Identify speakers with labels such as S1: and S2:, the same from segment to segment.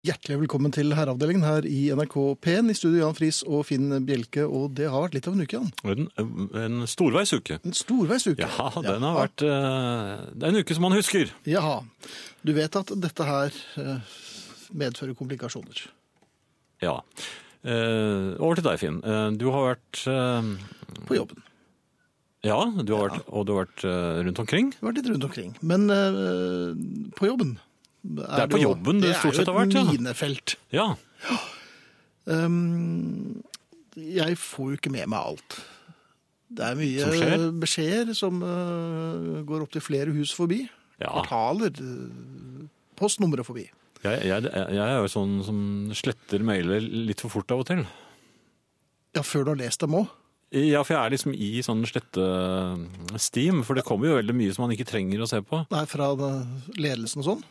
S1: Hjertelig velkommen til Herreavdelingen her i NRK P1. I studio Jan Friis og Finn Bjelke. Og det har vært litt av en uke, Jan.
S2: En, en storveisuke.
S1: En storveisuke.
S2: Ja, den har vært eh, Det er en uke som man husker.
S1: Jaha. Du vet at dette her eh, medfører komplikasjoner.
S2: Ja. Eh, over til deg, Finn. Eh, du har vært eh,
S1: På jobben.
S2: Ja, du har vært, og du har vært eh, rundt omkring.
S1: Det har vært litt rundt omkring. Men eh, på jobben
S2: er på jobben det stort sett har
S1: Det
S2: vært, ja.
S1: er jo et minefelt.
S2: Ja.
S1: Um, jeg får jo ikke med meg alt. Det er mye
S2: Som skjer?
S1: eh, beskjeder som eh, går opp til flere hus forbi.
S2: ja.
S1: Kvartaler. eh, postnumre forbi.
S2: Jeg, jeg, jeg er jo sånn som sletter mailer litt for fort av og til.
S1: Ja, før du har lest dem òg.
S2: Ja, for jeg er liksom i sånn slette-steam, for det kommer jo veldig mye som man ikke trenger å se på.
S1: Nei, fra eh, ledelsen og sånn.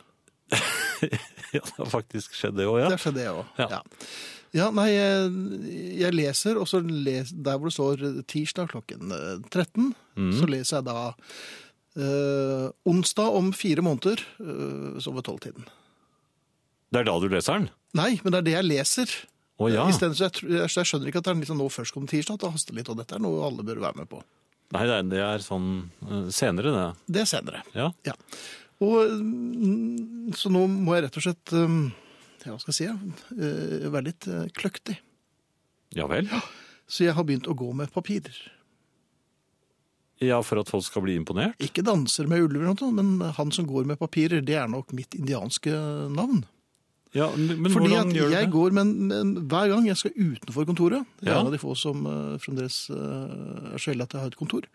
S2: Ja, det har faktisk skjedd det òg, ja.
S1: Det skjedde jeg òg.
S2: Ja.
S1: Ja. ja, nei, jeg, jeg leser, og så les, der hvor det står tirsdag klokken eh, 13,
S2: Mhm.
S1: så leser jeg da eh, onsdag om fire måneder, eh, så ved tolvtiden.
S2: Det er da du leser den?
S1: Nei, men det er det jeg leser.
S2: Å ja.
S1: I stedet, så jeg, tr- jeg, så jeg skjønner ikke at det er liksom nå først kom tirsdag, at det haster litt, og dette er noe alle bør være med på.
S2: Nei, det er, det er sånn eh, senere, det.
S1: Det er senere.
S2: Ja.
S1: Ja. Og, mm, så nå må jeg rett og slett, eh, ja, hva skal jeg si, eh, være litt eh, kløktig.
S2: Ja vel?
S1: Så jeg har begynt å gå med papirer.
S2: Ja, for at folk skal bli imponert?
S1: Ikke danser med ulver, eller noe, men han som går med papirer, det er nok mitt indianske navn.
S2: Ja, men men
S1: Fordi
S2: hvordan
S1: at
S2: gjør du det?
S1: jeg går, men, men hver gang jeg skal utenfor kontoret, jeg er
S2: Ja.
S1: en av de få som eh, fremdeles eh, er så heldig at jeg har et kontor,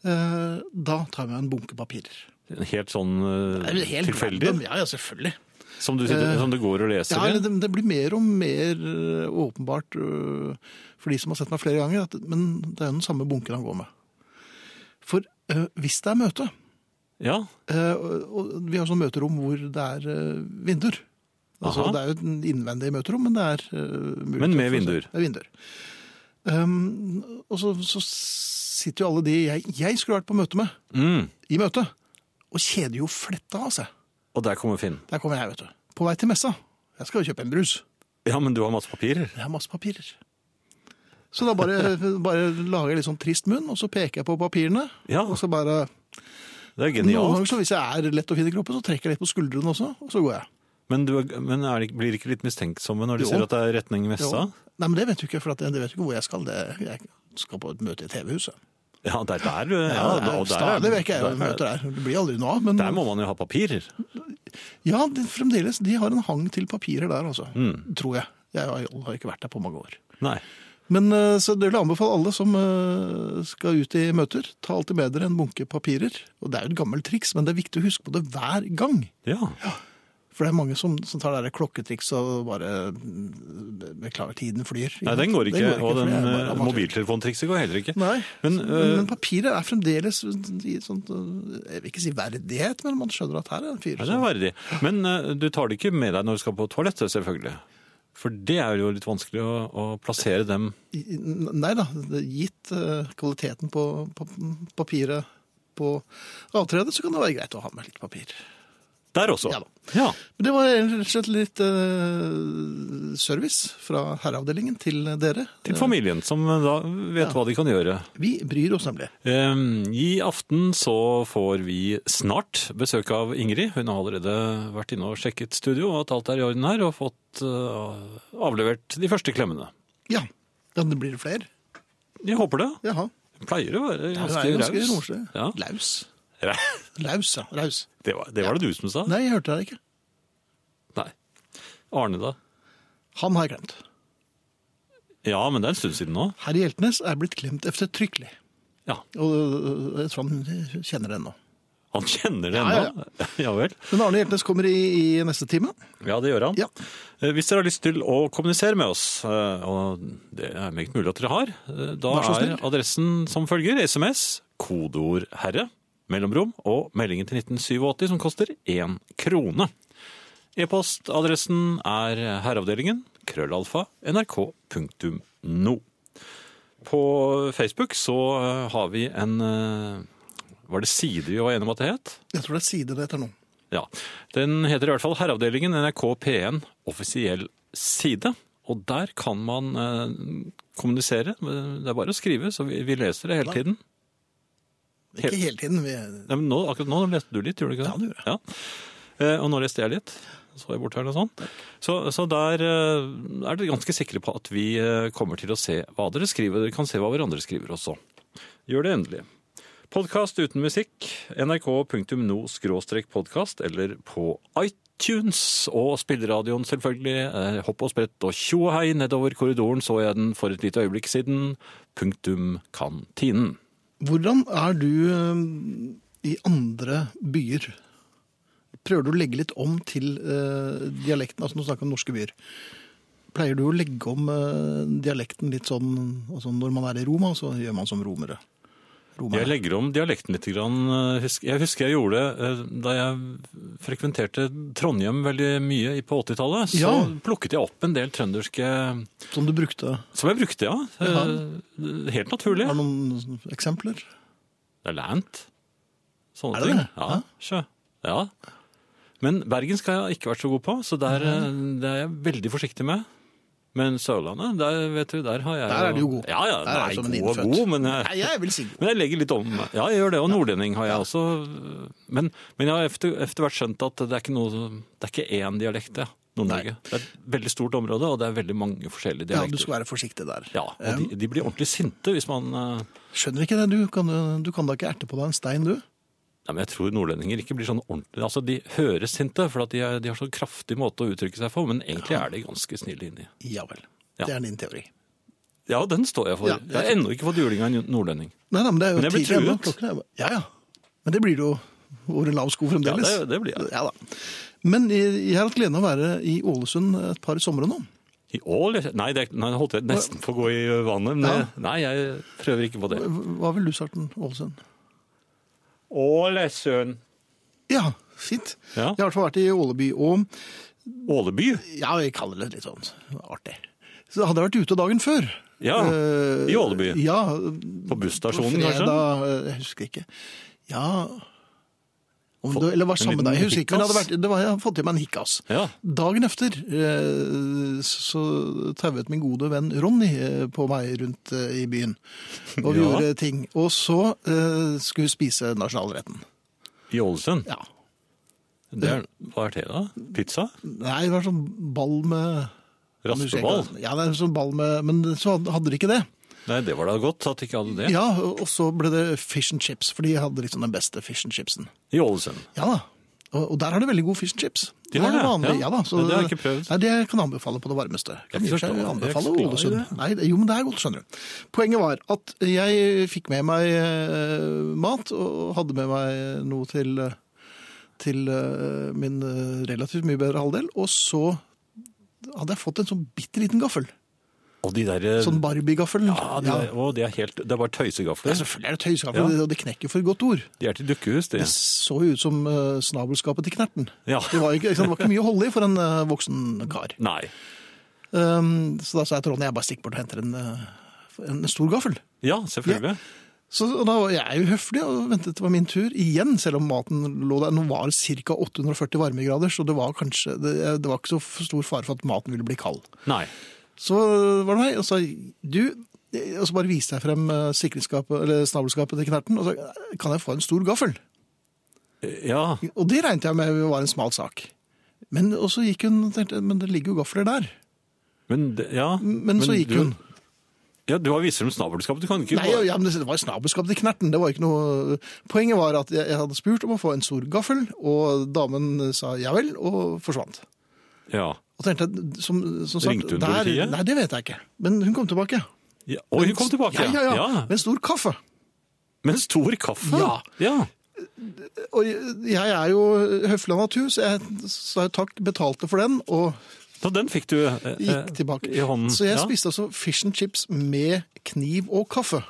S1: eh, da tar jeg meg en bunke papirer.
S2: Helt sånn eh,
S1: Det er helt
S2: tilfeldig?
S1: random, Ja, ja, selvfølgelig.
S2: Som, du, sitter- som du går og leser
S1: Ja,
S2: i?
S1: eller det, det blir mer og mer eh, åpenbart eh, for de som har sett meg flere ganger, at, men det er jo den samme bunken han går med. For eh, hvis det er møte,
S2: Ja.
S1: Eh, og- og vi har sånn møterom hvor det er eh, vinduer. Altså,
S2: Aha.
S1: det er jo et innvendig møterom, men det er eh, mulighet
S2: Men med
S1: for å se-
S2: vinduer.
S1: Med vinduer. Um, og så, så sitter jo alle de jeg, jeg skulle vært på møte med,
S2: Mm.
S1: i møte, og kjeder jo fletta av seg.
S2: Og der kommer Finn.
S1: Der kommer jeg, vet du. På vei til messa. Jeg skal jo kjøpe en brus.
S2: Ja, men du har masse papirer.
S1: Jeg har masse papirer. Så da bare, bare lager jeg litt sånn trist munn, og så peker jeg på papirene.
S2: Ja.
S1: Og så bare
S2: Det er
S1: Noen
S2: genialt.
S1: ganger, så hvis jeg er lett å finne i kroppen, så trekker jeg litt på skuldrene også, og så går jeg.
S2: Men, du, er- men er det, blir det ikke litt mistenksomme når de
S1: Jo.
S2: sier at det er retning messa?
S1: Jo. Nei, men det vet du ikke, for at jeg- det vet du ikke hvor jeg skal. Det, jeg skal på et møte i TV-huset.
S2: Ja, det er der.
S1: Ja,
S2: eh, Ja,
S1: det er
S2: og der
S1: stadig vekk jeg
S2: der
S1: er
S2: er-
S1: jo møter der. Det blir aldri noe av, men
S2: Der må man jo ha papirer.
S1: ja, det, fremdeles, de har en hang til papirer der, altså.
S2: Mm.
S1: Tror jeg. Jeg har, har ikke vært der på mange år.
S2: Nei.
S1: Men eh, så det vil jeg anbefale alle som eh, skal ut i møter, ta alltid med dere en bunke papirer. Og det er jo et gammelt triks, men det er viktig å huske på det hver gang.
S2: Ja.
S1: For det er mange som, som tar det der klokketrikset og bare mm, Beklager, tiden flyr.
S2: Nei, den går ikke. og
S1: for
S2: den
S1: jeg er bare
S2: eh,
S1: amatør.
S2: mobiltelefontrikset går heller ikke.
S1: Nei,
S2: Men,
S1: men,
S2: eh,
S1: men papirer er fremdeles i sånt, eh, Jeg vil ikke si verdighet, men man skjønner at her er en fyr.
S2: Nei, det er verdig. Men eh, du tar det ikke med deg når du skal på toalettet, selvfølgelig. For det er jo litt vanskelig å, å plassere dem
S1: som- Nei da, gitt eh, kvaliteten på, på papiret på avtredet, så kan det være greit å ha med litt papir.
S2: der også.
S1: Ja da.
S2: Ja.
S1: Men det var rett og slett litt eh, service fra herreavdelingen til dere.
S2: Til familien, som da vet hva de kan gjøre.
S1: Vi bryr oss nemlig.
S2: Ehm, I aften så får vi snart besøk av Ingrid. Hun har allerede vært inne og sjekket studio, og at alt er i orden her, og fått eh, avlevert de første klemmene.
S1: Ja. ja det blir flere.
S2: Jeg håper det.
S1: Jaha.
S2: Hun pleier å være
S1: Det
S2: ganske,
S1: er ganske
S2: raus.
S1: romslig.
S2: Ja.
S1: Laus. Laus, ja. Raus.
S2: Det var det, var det du som sa?
S1: Nei, jeg hørte deg ikke.
S2: Nei. Arne, da?
S1: Han har jeg glemt.
S2: Ja, men det er en stund siden nå.
S1: Herr Hjeltnes er blitt klemt eftertrykkelig.
S2: Ja.
S1: Og jeg tror han kjenner det ennå.
S2: Han kjenner det
S1: Ja,
S2: ennå? Ja, vel.
S1: Men Arne Hjeltnes kommer i, i neste time.
S2: Ja, det gjør han.
S1: Ja.
S2: Eh, Hvis dere har lyst til å kommunisere med oss, eh, og det er meget mulig at dere har, eh, da
S1: Vær så
S2: er
S1: snill.
S2: adressen som følger SMS, kodeord herre, mellomrom og meldingen til 1987 som koster én krone. E-postadressen er herreavdelingen, krøllalfa, nrk.no. På Facebook så eh, har vi en eh, Var det side vi var enige om at det het?
S1: Jeg tror det er side det heter nå.
S2: Ja. Den heter i hvert fall Herreavdelingen NRK P1 offisiell side. Og der kan man eh, kommunisere. Det er bare å skrive, så vi, vi leser det hele tiden.
S1: Ikke hele tiden. Vi...
S2: Ja, men nå, akkurat nå leste du litt, gjorde du ikke
S1: Ja, det gjorde
S2: Ja. Eh, og nå leste jeg litt. Så jeg bort her og sånn. Så, så der eh, er dere ganske sikre på at vi eh, kommer til å se hva dere skriver. Dere kan se hva hverandre skriver også. Gjør det endelig. Podkast uten musikk, nrk.no-podkast, eller på iTunes. Og spilleradioen, selvfølgelig. Eh, Hopp og sprett og tjo og hei nedover korridoren så jeg den for et lite øyeblikk siden. Punktum kantinen.
S1: Hvordan er du eh, i andre byer? Prøver du å legge litt om til eh, dialekten? Altså, nå snakker vi om norske byer. Pleier du å legge om eh, dialekten litt sånn altså Når man er i Roma, så gjør man som romere.
S2: Jeg
S1: romere.
S2: legger om dialekten litt. Grann. eh, Husk- Jeg husker jeg gjorde det eh, da jeg frekventerte Trondheim veldig mye i- på 80-tallet. Så
S1: Ja.
S2: plukket jeg opp en del trønderske
S1: Som du brukte.
S2: Som jeg brukte, ja. Eh, Helt naturlig.
S1: Har du noen eksempler?
S2: Det er lant. Sånne
S1: Er det
S2: ting.
S1: det?
S2: Ja,
S1: Ja.
S2: sjø. Ja. Men bergensk har jeg ikke vært så god på, så der, eh, det er jeg veldig forsiktig med. Men Sørlandet, der, vet du, der har jeg
S1: Der er du jo god.
S2: Ja, ja,
S1: Der er du som en
S2: nei, god og
S1: innfødt.
S2: god, men jeg,
S1: Nei, jeg vil si god.
S2: Men jeg legger litt om. Ja, jeg gjør det. Og nordlending har jeg også. Men, men jeg har efter, efter hvert skjønt at det er ikke, noe, det er ikke én dialekt, det. Nord-Norge. Det er et veldig stort område, og det er veldig mange forskjellige
S1: Ja, du
S2: dialekter.
S1: skal være forsiktig der.
S2: Ja, og de, de blir ordentlig sinte hvis man eh,
S1: Skjønner ikke det, du kan, du kan da ikke erte på deg en stein, du?
S2: Nei, men Jeg tror nordlendinger ikke blir sånn ordentlig Altså, De høres sinte, for at de, er, de har sånn kraftig måte å uttrykke seg på, men egentlig er de ganske snille inni.
S1: Ja vel.
S2: Ja.
S1: Det er din teori.
S2: Ja, den står jeg for.
S1: Ja, det er
S2: jeg har ennå ikke fått juling av en nordlending.
S1: Nei, nei, men det er jo
S2: Men jeg blir
S1: tidlig ennå.
S2: truet.
S1: Klokken er jo- Ja, ja. Men det blir du jo over en lav sko
S2: Ja,
S1: fremdeles.
S2: det, det blir jeg.
S1: Ja da. Men jeg, jeg har hatt gleden av å være i Ålesund et par somre nå.
S2: I ål? Nei, det, er- nei, nå holdt jeg nesten på å gå i vannet. Men
S1: Ja.
S2: nei, jeg prøver ikke på det.
S1: Hva vil du starte, Ålesund?
S2: Ålesund.
S1: Ja, fint.
S2: Ja.
S1: Jeg har i hvert fall vært i Åleby, og
S2: Åleby?
S1: ja, jeg kaller det litt sånn artig. Så hadde jeg vært ute dagen før.
S2: Ja,
S1: Eh,
S2: i Åleby.
S1: Ja.
S2: På busstasjonen,
S1: på
S2: kanskje?
S1: fredag, eh, Jeg husker ikke. Ja om det, Eller var
S2: en
S1: sammen
S2: liten
S1: med deg, jeg husker ikke. Men det hadde
S2: hikkas?
S1: vært, det var, jeg hadde fått i meg en hikkas.
S2: Ja.
S1: Dagen efter eh, så tauet min gode venn Ronny eh, på meg rundt eh, i byen. Og vi
S2: Ja.
S1: gjorde ting. Og så eh, skulle vi spise nasjonalretten.
S2: I Ålesund?
S1: Ja.
S2: Det er, hva er det, da? Pizza?
S1: Nei, det var sånn ball med
S2: Raspeball?
S1: Ja, det er sånn ball med Men så hadde de ikke det.
S2: Nei, det var da godt at de ikke hadde det.
S1: Ja, Og så ble det fish and chips, for de hadde liksom den beste fish and chipsen.
S2: I Ålesund.
S1: Ja da. Og, og der har de veldig god fish and chips.
S2: De har
S1: er
S2: det,
S1: vanlig,
S2: ja.
S1: ja. da. Så,
S2: Men det har jeg ikke prøvd.
S1: Nei, det kan jeg anbefale på det varmeste. Kan i
S2: Jeg
S1: og for seg
S2: forstår. Jeg er ikke
S1: anbefale
S2: så glad i
S1: Ålesund.
S2: det.
S1: Nei, det- jo, men det er godt, skjønner du. Poenget var at jeg fikk med meg eh, mat, og hadde med meg noe til, eh, til eh, min eh, relativt mye bedre halvdel, og så hadde jeg fått en sånn bitte liten gaffel.
S2: Og de der eh,
S1: Sånn Barbie-gaffel.
S2: ja, de der- Å, de er helt Det er bare
S1: Ja,
S2: tøysegafler.
S1: selvfølgelig er det tøyskaffel, og det- og det knekker for et godt ord.
S2: De er til dukkehus, de.
S1: Det så jo ut som eh, snabelskapet til Knerten.
S2: Ja.
S1: Det, var ikke, ikke sant, det var ikke mye å holde i for en eh, voksen kar.
S2: Nei.
S1: Um, så da sa jeg til Ronny jeg bare stikker bort og henter en, eh, en stor gaffel.
S2: Ja, selvfølgelig.
S1: Så da var jeg jo høflig og ventet det var min tur igjen, selv om maten lå der. Nå var det ca. 840 varmegrader, så det var kanskje det, eh, det var ikke så stor fare for at maten ville bli kald.
S2: Nei.
S1: Så var det meg, og sa du Og så bare viste jeg frem eh, sikringsskapet, eller snabelskapet til Knerten, og sa kan jeg få en stor gaffel?
S2: Ja.
S1: Og det regnet jeg med var en smal sak. Men og så gikk hun og tenkte men det ligger jo gafler der.
S2: Men, det- ja.
S1: Men, så gikk
S2: du,
S1: hun.
S2: Ja, Du har viser dem snabelskap. Du kan ikke
S1: Nei,
S2: bare-
S1: ja, men Det var snabelskap til knerten. det var ikke noe... Poenget var at jeg, jeg hadde spurt om å få en stor gaffel, og damen sa ja vel, og forsvant.
S2: ja.
S1: Og tenkte jeg, som, som sagt,
S2: Ringte hun
S1: der-
S2: politiet?
S1: Nei, det vet jeg ikke. Men hun kom tilbake.
S2: ja. Oi, hun kom tilbake.
S1: Ja, ja, ja.
S2: Ja.
S1: Med en stor kaffe.
S2: Med en stor kaffe.
S1: Ja.
S2: ja.
S1: Og jeg er jo høflig av natur, så jeg sa jo takk, betalte for den, og
S2: Så den fikk du eh,
S1: gikk
S2: eh,
S1: tilbake.
S2: i hånden.
S1: Så jeg
S2: ja.
S1: spiste altså fish and chips med kniv og kaffe.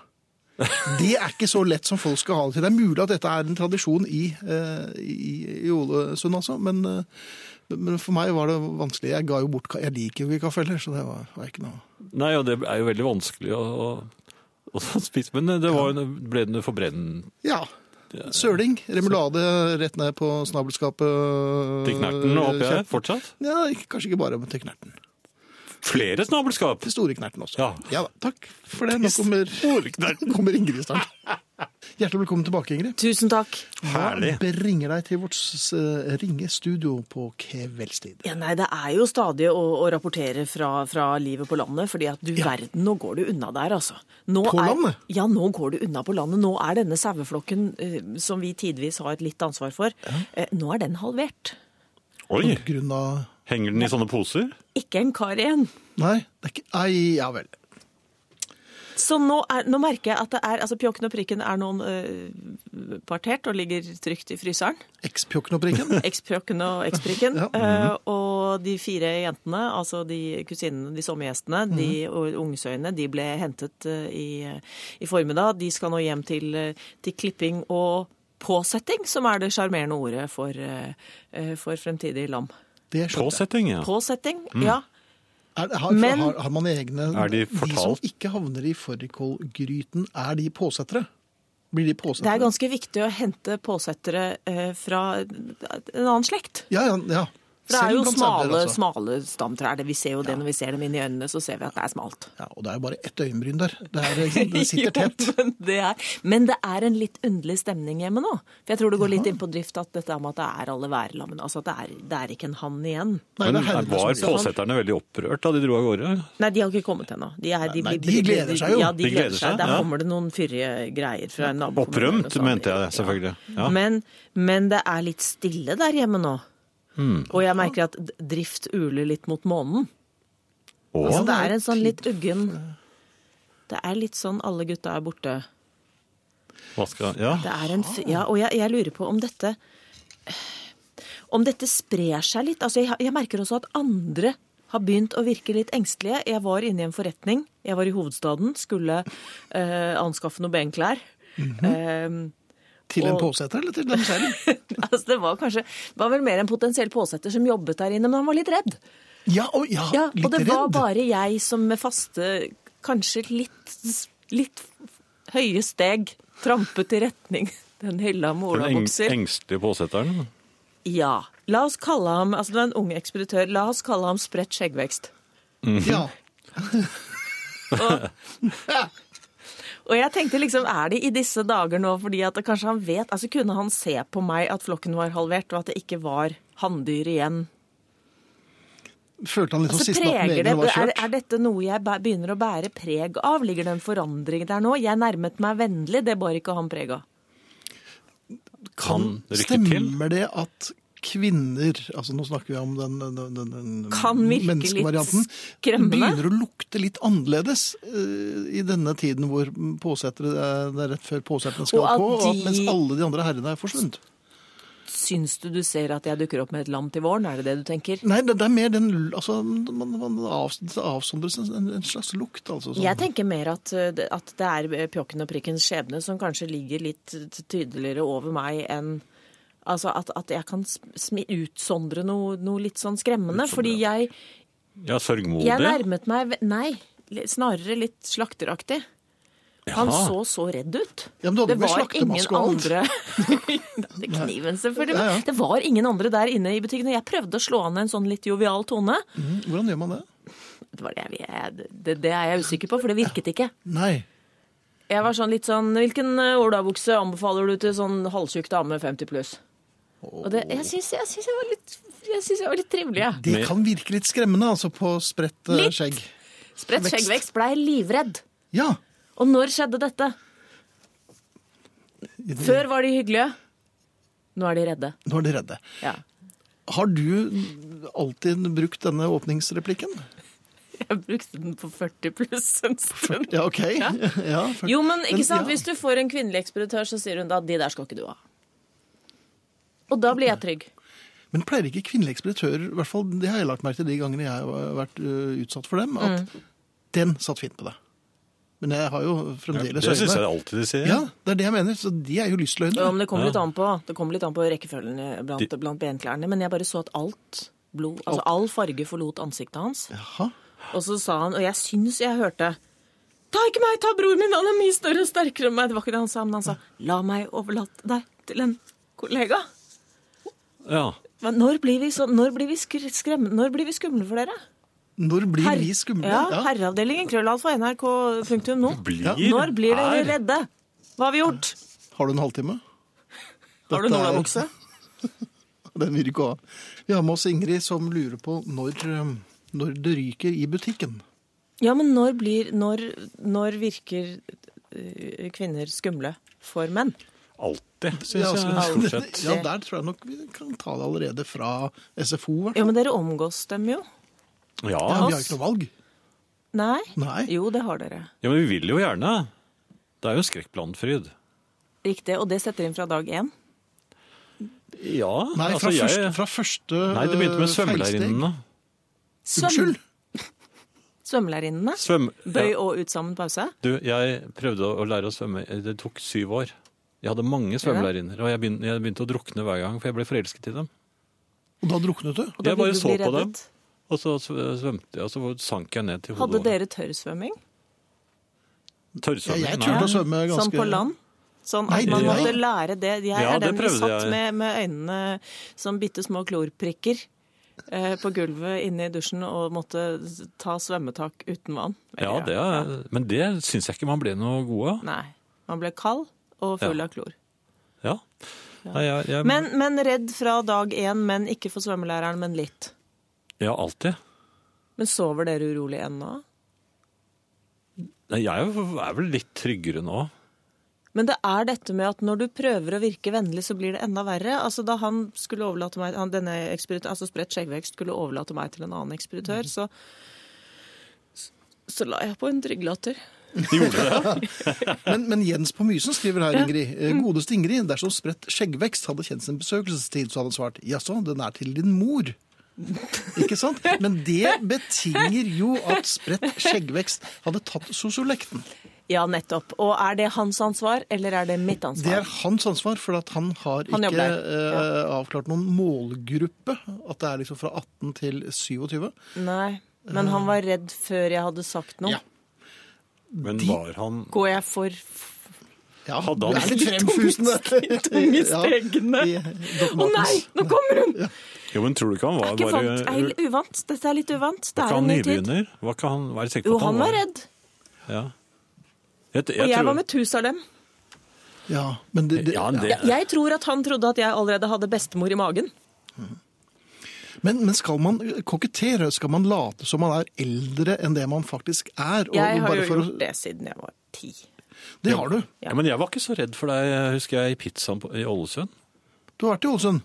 S1: Det er ikke så lett som folk skal ha det til. Det er mulig at dette er en tradisjon i, eh, i, i Ålesund, altså, men, eh, men for meg var det vanskelig. Jeg ga jo bort ka- Jeg liker jo ikke kaffe heller, så det var, var ikke noe
S2: Nei, og det er jo veldig vanskelig å, å, å spise, men det var, jo- ble den jo forbrent
S1: Ja. Søling. Remulade rett ned på snabelskapet. eh,
S2: Til knerten og oppi her fortsatt?
S1: Ja, ikke- kanskje ikke bare men til knerten.
S2: Flere snabelskap!
S1: Til store knerten også.
S2: Ja.
S1: da, takk for det. Nå kommer, kommer Ingrid snart. Hjertelig velkommen tilbake, Ingrid.
S3: Tusen takk.
S1: Hva
S2: Herlig.
S1: bringer deg til vårt s- ringe studio på kveldstid?
S3: Ja, nei, det er jo stadig å, å rapportere fra, fra livet på landet, fordi at du verden, nå går du unna der, altså. Nå
S1: På
S3: er,
S1: landet?
S3: Ja, nå går du unna på landet. Nå er denne saueflokken, eh, som vi tidvis har et litt ansvar for, eh, nå er den halvert.
S2: Oi!
S1: På grunn av
S2: Henger den i sånne poser?
S3: Ikke en kar igjen.
S1: Nei, det er ikke Nei, ja vel.
S3: Så nå, er, nå merker jeg at det er, altså pjokken og prikken er noen eh, partert og ligger trygt i fryseren.
S1: Ekspjokken og prikken?
S3: Ekspjokken og eksprikken.
S1: Mhm.
S3: eh, og de fire jentene, altså de kusinene, de sommergjestene, de
S1: Mhm.
S3: og ungesøyene, de ble hentet eh, i, i formiddag. De skal nå hjem til, eh, til klipping og påsetting, som er det sjarmerende ordet for, eh, eh, for fremtidig lam.
S1: Det skjønte jeg.
S2: Påsetting, ja.
S3: Påsetting,
S1: Mm.
S3: ja.
S1: Er, det- har,
S3: Men-
S1: har, har man egne
S2: Er de
S1: de som
S2: fortalt?
S1: ikke havner i fårikålgryten, er de påsettere? Blir de påsettere?
S3: Det er ganske viktig å hente påsettere eh, fra en annen slekt.
S1: Ja, ja. ja.
S3: For det er
S1: Selv
S3: jo
S1: blant sauer,
S3: smale,
S1: altså.
S3: smale stamtrær. det- Vi ser jo det når vi ser dem inn i øynene, så ser vi at det er smalt.
S1: Ja, og det er jo bare ett øyenbryn der. Det, er, det sitter tett.
S3: Jo, men, det er, men det er en litt underlig stemning hjemme nå. For jeg tror det går litt inn på drift at dette med at det er alle værlammene. Altså at det er, det er ikke en hann igjen.
S1: Nei,
S2: Men
S1: det er herreløs
S2: var
S1: omsorg.
S2: påsetterne veldig opprørt da de dro av gårde?
S3: Nei, de har ikke kommet ennå. De,
S1: Nei,
S3: er- blir-
S1: de gleder seg jo.
S3: Ja, de,
S2: De gleder
S3: gleder seg.
S2: seg,
S3: Der
S2: ja.
S3: kommer det noen fyrige greier fra en nabo.
S2: Opprømt, mente jeg selvfølgelig. Ja.
S3: Men, men det er litt stille der hjemme nå.
S1: Hmm.
S3: Og jeg merker at d- drift uler litt mot månen.
S2: Å,
S3: Så det
S1: det
S3: er
S1: er
S3: en sånn litt uggen Det er litt sånn alle gutta er borte.
S2: hva skal Ja.
S3: Det er en, f- ja, og jeg, jeg lurer på om dette om dette sprer seg litt. Altså, jeg, jeg merker også at andre har begynt å virke litt engstelige. Jeg var inne i en forretning. Jeg var i hovedstaden, skulle eh, anskaffe noe benklær.
S1: Mhm.
S3: Eh,
S1: Til en
S3: Og-
S1: påsetter eller til dem selv?
S3: altså, det var kanskje det var vel mer en potensiell påsetter som jobbet der inne, men han var litt redd.
S1: Ja, og, ja,
S3: Ja,
S1: litt
S3: og det var
S1: redd.
S3: bare jeg som med faste, kanskje litt, litt høye steg trampet i retning den hylla med
S2: Den eng
S3: olabukser.
S2: engstelige påsetteren?
S3: Ja. La oss kalle ham altså det var en ung ekspeditør, la oss kalle ham spredt skjeggvekst.
S1: Ja.
S3: Og jeg tenkte liksom, er det i disse dager nå fordi at det kanskje han vet altså Kunne han se på meg at flokken var halvert, og at det ikke var hanndyr igjen?
S1: Følte han litt som
S3: Altså
S1: siste natten
S3: preger det,
S1: egen var
S3: er,
S1: kjørt?
S3: er dette noe jeg bæ- begynner å bære preg av? Ligger det en forandring der nå? Jeg nærmet meg vennlig, det bar ikke han preg av.
S2: Kan rykke til?
S1: Stemmer det at kvinner, altså nå snakker vi om den, den, den, den
S3: Kan virke litt
S1: menneskevarianten,
S3: skremmende.
S1: begynner å lukte litt annerledes eh, i denne tiden hvor påsettere er, det er rett før påsetterne skal
S3: Og at
S1: på, og at,
S3: de-
S1: mens alle de andre herrene er forsvunnet.
S3: Syns du du ser at jeg dukker opp med et lam til våren, er det det du tenker?
S1: Nei, det, det er mer den altså, man, man av, det avsondres en, en slags lukt, altså. sånn.
S3: Jeg tenker mer at, eh, det- at det er pjokken og prikkens skjebne som kanskje ligger litt t- tydeligere over meg enn Altså at, at jeg kan sm- smi- utsondre noe, noe litt sånn skremmende. fordi jeg,
S2: Ja,
S3: jeg
S2: sørgmodig?
S3: nærmet meg ve- Nei, li- snarere litt slakteraktig. Han
S2: Jaha.
S3: så så redd ut.
S1: Ja, men du hadde
S3: det
S1: med
S3: var ingen
S1: slaktemaske og alt.
S3: andre Det er Kniven, selvfølgelig.
S1: Ja, ja.
S3: Det var ingen andre der inne i butikken. og Jeg prøvde å slå an en sånn litt jovial tone.
S1: Mm, Hvordan gjør man det?
S3: Det, var det, jeg- jeg, det, det er jeg usikker på, for det virket ikke.
S1: Nei.
S3: Jeg var sånn litt sånn Hvilken eh, olabukse anbefaler du til sånn halvtjukk dame 50 pluss? Og det, jeg syns jeg, syns jeg var litt Jeg synes jeg var litt trivelig, jeg.
S1: Det
S2: Med-
S1: kan virke litt skremmende, altså, på spredt eh,
S3: Litt.
S1: skjegg.
S3: Spredt
S1: Vekst.
S3: skjeggvekst blei livredd.
S1: Ja.
S3: Og når skjedde dette? Før var de hyggelige. Nå er de redde.
S1: Nå er de redde.
S3: Ja.
S1: Har du alltid brukt denne åpningsreplikken?
S3: Jeg brukte den på 40 pluss en stund.
S1: Ja, ok. Ja. for-
S3: Jo, men ikke sant,
S1: ja.
S3: hvis du får en kvinnelig ekspeditør, så sier hun da de der skal ikke du ha. Og da blir jeg trygg.
S1: Men pleier ikke kvinnelige ekspeditører, i hvert fall det har jeg lagt merke til de gangene jeg har vært ø, utsatt for dem, at
S3: Mm.
S1: den satt fint på deg. Men jeg har jo
S2: Det
S1: fremdeles
S2: syns jeg alltid de sier.
S1: Ja, det er det jeg mener. Så de er jo lystløgnere.
S3: Ja, men det kommer litt
S2: Ja.
S3: an på, det kommer litt an på rekkefølgen eh, blant, blant benklærne. Men jeg bare så at alt blod, altså all farge forlot ansiktet hans.
S1: Jaha.
S3: Og så sa han, og jeg syns jeg hørte Ta ikke meg, ta broren min, han er mye større og sterkere enn meg. Det var ikke det han sa, men han sa la meg overlate deg til en kollega.
S2: Ja.
S3: Men når blir vi, så, når blir vi, skre- skremme, når blir vi skumle for dere?
S1: Når blir
S3: Herre-
S1: vi skumle?
S3: Ja, Herreavdelingen, krøllalfa, nrk.no.
S2: Blir,
S3: Når blir dere
S2: er-
S3: redde? Hva har vi gjort?
S1: Har du en halvtime?
S3: Har du
S1: Dette er-
S3: nålabukse?
S1: Den vil ikke ha. Vi har med oss Ingrid som lurer på når, eh, når det ryker i butikken.
S3: Ja, men når blir Når, når virker eh, kvinner skumle for menn?
S2: Alltid, syns
S1: Ja,
S2: jeg.
S1: altså,
S2: Stort sett.
S1: ja, der tror jeg nok vi kan ta det allerede fra SFO. i hvert fall.
S3: Ja, men dere omgås dem jo.
S2: Ja,
S1: Ja, vi har
S2: ass.
S1: ikke noe valg.
S3: Nei?
S1: Nei.
S3: Jo, det har dere.
S2: ja, men vi vil jo gjerne. Det er jo skrekk blant fryd.
S3: Riktig. Og det setter inn fra dag én.
S2: Ja,
S1: Nei, fra,
S2: altså jeg
S1: første, fra første
S2: Nei, det begynte
S1: eh,
S2: med
S1: feilsteg.
S2: svømmelærerinnene.
S1: Unnskyld!
S3: Svømmelærerinnene.
S2: Svøm...
S3: Bøy
S2: Ja.
S3: og ut sammen pause.
S2: Du, jeg prøvde å lære å svømme. eh, Det tok syv år. Jeg hadde mange svømmelærerinner, og jeg begynte, jeg begynte å drukne hver gang, for jeg ble forelsket i dem.
S1: Og da druknet du.
S3: Og da
S2: Jeg
S3: vil
S2: bare
S3: du
S2: så
S3: bli
S2: på
S3: reddet.
S2: Og så sv- svømte jeg, og så sank jeg ned til hodet.
S3: Hadde dere tørrsvømming?
S1: Ja,
S2: Tørrsvømming?
S1: jeg
S2: Nei.
S1: turte å svømme ganske
S3: Sånn på land? Sånn at
S1: Nei,
S3: man
S2: det-
S3: måtte lære det. Jeg
S2: Ja,
S3: er
S2: det
S3: den vi
S2: prøvde
S3: satt
S2: jeg.
S3: med, med øynene som bitte små klorprikker eh, på gulvet inne i dusjen og måtte ta svømmetak uten vann.
S2: Ja, det er, men det syns jeg ikke man ble noe god av.
S3: Nei. Man ble kald og full
S2: Ja.
S3: av klor.
S2: Ja. Nei, jeg, jeg,
S3: Men, men redd fra dag én, men ikke for svømmelæreren, men litt.
S2: ja, alltid.
S3: Men sover dere urolig ennå?
S2: Nei, Jeg er jo- er vel litt tryggere nå.
S3: Men det er dette med at når du prøver å virke vennlig, så blir det enda verre. Altså, da han skulle overlate meg, han, denne eksperit- altså spredt skjeggvekst skulle overlate meg til en annen ekspeditør, så, så la jeg på en trygglatter.
S1: Men, men Jens på Mysen skriver her, Ingrid. eh,
S3: Mm.
S1: Godeste Ingrid, dersom spredt skjeggvekst hadde kjent sin besøkelsestid, så hadde han svart jaså, den er til din mor. Ikke sant? Men det betinger jo at spredt skjeggvekst hadde tatt sosiolekten.
S3: Ja, nettopp. Og er det hans ansvar, eller er det mitt
S1: Det er
S3: ansvar?
S1: hans ansvar, for at han har
S3: Han
S1: ikke
S3: jobber der,
S1: eh, avklart noen målgruppe. At det er liksom fra 18 til 27.
S3: Nei. Men han var redd før jeg hadde sagt noe.
S1: Ja.
S2: Men
S1: De-
S2: var han
S3: Går jeg for
S1: Ja,
S2: Hadde
S1: du
S2: han-
S1: er litt
S3: De tunge
S1: fremfusende.
S3: st- tunge stegene.
S1: Ja, i
S3: Å nei,
S1: dogmatenes-
S3: nå kommer hun!
S2: Jo, men tror du ikke han
S3: Det
S2: var
S3: er ikke
S2: bare
S3: vant. Det er uvant. Dette er litt uvant. Det
S2: Var ikke
S3: er
S2: han
S3: en ny tid.
S2: nybegynner? Var ikke han Vær sikker på
S3: Jo,
S2: at
S3: han var redd.
S2: Ja. Jeg, jeg,
S3: Og jeg
S2: tror-
S3: var Methusalem.
S1: Ja, men det, det,
S2: Ja, men det,
S3: Jeg, jeg tror at han trodde at jeg allerede hadde bestemor i magen.
S1: Men, men skal man kokettere? Skal man late som man er eldre enn det man faktisk er? og
S3: Jeg har
S1: bare
S3: jo
S1: for å-
S3: gjort det siden jeg var ti.
S1: Det har du.
S2: ja, men jeg var ikke så redd for deg, husker jeg, i pizzaen på, i Ålesund.
S1: Du har vært i Ålesund.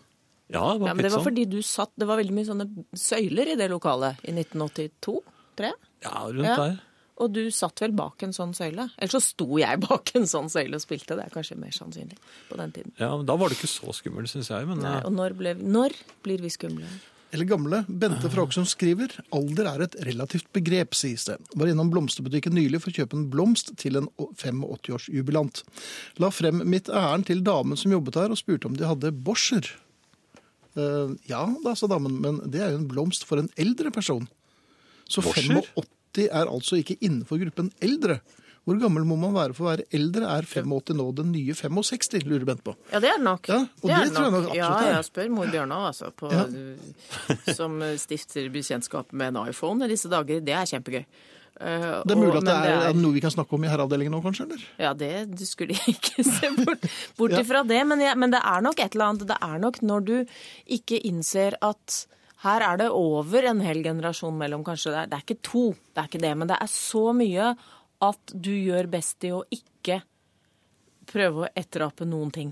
S2: Ja, det var
S3: Ja, men det
S2: pizzaen.
S3: var fordi du satt Det var veldig mye sånne søyler i det lokalet i 1982-3.
S2: Ja, rundt
S3: Ja.
S2: der.
S3: Og du satt vel bak en sånn søyle? Eller så sto jeg bak en sånn søyle og spilte. Det er kanskje mer sannsynlig på den tiden.
S2: Ja, men Da var du ikke så skummel, syns jeg. Men eh,
S3: Nei, og når, ble, når blir vi skumle?
S1: Eller gamle. Bente fra Åkesund skriver alder er et relativt begrep, sies det. Var innom blomsterbutikken nylig for å kjøpe en blomst til en 85-årsjubilant. La frem mitt ærend til damen som jobbet der og spurte om de hadde Boscher. Eh, ja da, sa damen, men det er jo en blomst for en eldre person. Så
S2: Boscher?
S1: 85 er altså ikke innenfor gruppen eldre. Hvor gammel må man være for å være eldre? Er 85 nå den nye 65, lurer Bent på.
S3: Ja, det er det nok.
S1: Ja, og det
S3: er
S1: tror jeg nok absolutt
S3: ja,
S1: det er.
S3: jeg spør mor Bjørnar, altså, på, som stifter bekjentskap med en iPhone i disse dager. Det er kjempegøy. Eh,
S1: Det er
S3: og-
S1: mulig at
S3: men
S1: det er, er det noe vi kan snakke om i herreavdelingen nå, kanskje? eller?
S3: Ja, det du skulle ikke se bort, bort
S1: Ja.
S3: ifra det. Men, jeg, men det er nok et eller annet. Det er nok når du ikke innser at her er det over en hel generasjon mellom, kanskje. Det er, det er ikke to, det er ikke det. Men det er så mye at du gjør best i å ikke prøve å etterape noen ting.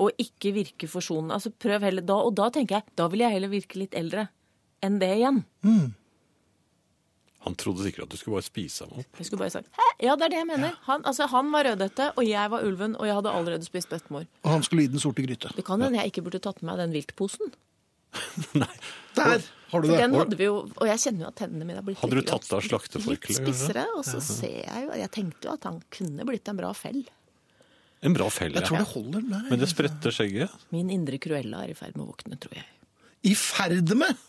S3: Og ikke virke forsonende. Altså, prøv heller da. Og da tenker jeg, da vil jeg heller virke litt eldre enn det igjen.
S2: han trodde sikkert at du skulle bare spise ham opp.
S3: Jeg skulle bare sagt Hæ? Ja, det er det jeg mener. Han, altså, han var rødhette, og jeg var ulven, og jeg hadde allerede spist bestemor.
S1: Og han skulle i den sorte gryte.
S3: Det kan hende jeg ikke burde tatt med meg den viltposen.
S2: Nei.
S1: Der har du det.
S3: Den hadde vi jo, og jeg kjenner jo at tennene mine har blitt
S2: Hadde du
S3: litt grann-
S2: tatt av slakteforkleet,
S3: Litt
S2: kanskje?
S3: spissere, og så ser jeg jo Jeg tenkte jo at han kunne blitt en bra fell.
S2: En bra felle.
S1: Jeg tror det holder der.
S2: Men det spredte skjegget.
S3: Min indre Cruella er i ferd med å våkne, tror jeg.
S1: I ferd med!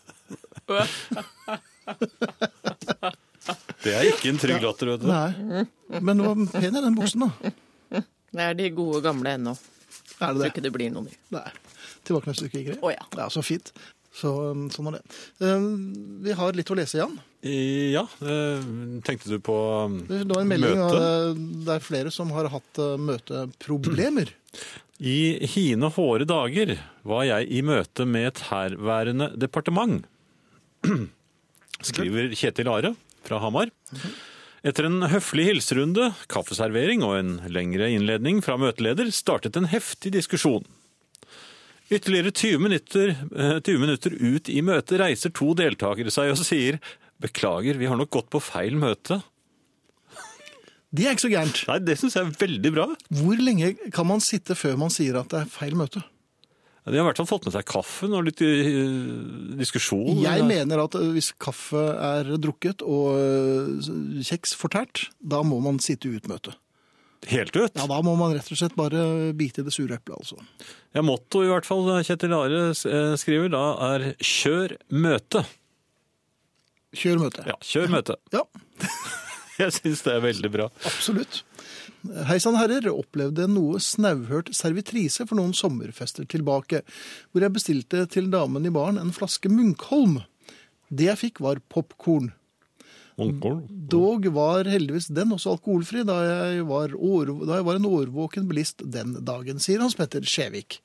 S2: Det er ikke en trygg latter, vet du.
S1: Nei. Men den var pen i den buksen, da.
S3: Det er de gode gamle ennå.
S1: Er
S3: Tror
S1: det det?
S3: ikke det blir noe ny.
S1: Nei. Tilbake neste uke, Ingrid.
S3: Å ja.
S1: Ja, så fint. Så, um, sånn er det. Um, Vi har litt å lese, Jan.
S2: Ja, eh, tenkte du på eh,
S1: Det var en melding
S2: Møte?
S1: av uh, det er flere som har hatt uh, møteproblemer.
S2: I hine hårde dager var jeg i møte med et herværende departement, skriver Kjetil Are fra Hamar. Etter en høflig hilserunde, kaffeservering og en lengre innledning fra møteleder startet en heftig diskusjon. Ytterligere 20 minutter, eh, 20 minutter ut i møtet reiser to deltakere seg og sier «Beklager, vi har nok gått på feil møte».
S1: Det er ikke så gærent.
S2: Nei, det synes jeg er veldig bra.
S1: Hvor lenge kan man sitte før man sier at det er feil møte?
S2: Ja, De har i hvert fall fått med seg kaffen og litt eh, diskusjon.
S1: Jeg mener at uh, hvis kaffe er drukket og uh, kjeks fortært, da må man sitte ut møtet.
S2: Helt ut?
S1: Ja, da må man rett og slett bare bite i det sure eplet, altså.
S2: Ja, motto i hvert fall, Kjetil Are eh, skriver, da er kjør møte.
S1: Kjør møte.
S2: Ja, kjør møte.
S1: Ja,
S2: Jeg syns det er veldig bra.
S1: absolutt. Hei sann, herrer. Opplevde en noe snauhørt servitrise for noen sommerfester tilbake, hvor jeg bestilte til damen i baren en flaske Munkholm. Det jeg fikk, var popkorn. Dog var heldigvis den også alkoholfri, da jeg var, år, da jeg var en årvåken bilist den dagen, sier Hans Petter Skjevik.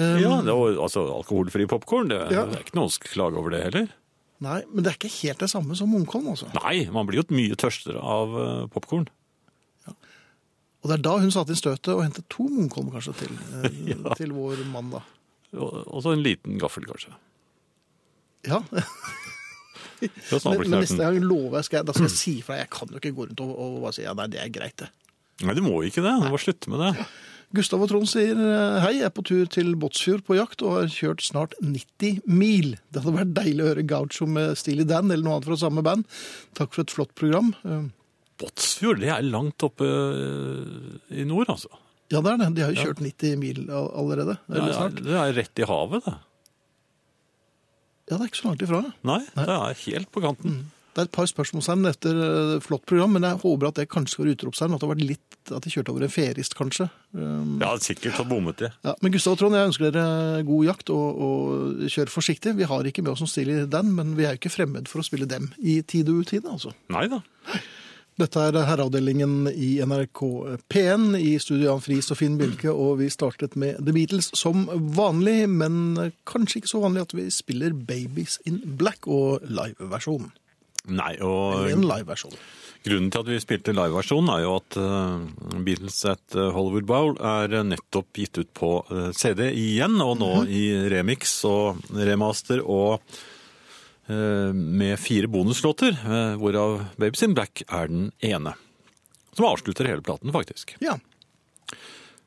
S2: Ja, det var, altså alkoholfri popkorn, det,
S1: Ja.
S2: det er ikke noe å klage over det heller.
S1: Nei, men det er ikke helt det samme som Munkholm, altså.
S2: Nei, man blir jo mye tørstere av eh, popkorn.
S1: Og det er da hun satte inn støtet og hentet to Munkholm kanskje til, eh,
S2: Ja.
S1: til vår mann, da.
S2: Og og så en liten gaffel, kanskje.
S1: Ja,
S2: Fra
S1: men, men neste
S2: snabelknuten.
S1: gang lover jeg, skal jeg, da skal jeg si fra. Jeg kan jo ikke gå rundt og, og bare si ja, nei, det er greit, det.
S2: Nei, du må ikke det. Du må slutte med det.
S1: Gustav og Trond sier eh, hei, jeg er på tur til Båtsfjord på jakt og har kjørt snart 90 mil. Det hadde vært deilig å høre Gaucho med Steely Dan eller noe annet fra samme band. Takk for et flott program. Eh,
S2: Båtsfjord, det er langt oppe eh, i nord, altså.
S1: Ja, det er det. De har jo kjørt 90 mil all- allerede.
S2: Det
S1: Eller
S2: er,
S1: snart.
S2: det er rett i havet, det.
S1: Ja, det er ikke så langt ifra.
S2: Nei, det er helt på kanten.
S1: Det er et par spørsmålstegn etter eh, flott program, men jeg håper at det kanskje skal være utropstegn. At det har vært litt at de kjørte over en ferist, kanskje. Um,
S2: Ja, sikkert så bommet de.
S1: Ja, men Gustav og Trond, jeg ønsker dere god jakt og, og kjør forsiktig. Vi har ikke med oss noen stil i den, men vi er jo ikke fremmed for å spille dem i tid og utide, altså.
S2: Nei da.
S1: Dette er herreavdelingen i NRK P1 i studio Jan Friis og Finn Bjelke, og vi startet med The Beatles som vanlig, men kanskje ikke så vanlig at vi spiller Babies in Black og liveversjonen.
S2: Nei,
S1: Eller
S2: og
S1: En liveversjon.
S2: grunnen til at vi spilte liveversjonen er jo at eh, Beatles at eh, Hollywood Bowl er eh, nettopp gitt ut på eh, CD igjen, og nå i remix og remaster og eh, med fire bonuslåter, eh, hvorav Babes in Black er den ene. Som avslutter hele platen, faktisk.
S1: Ja.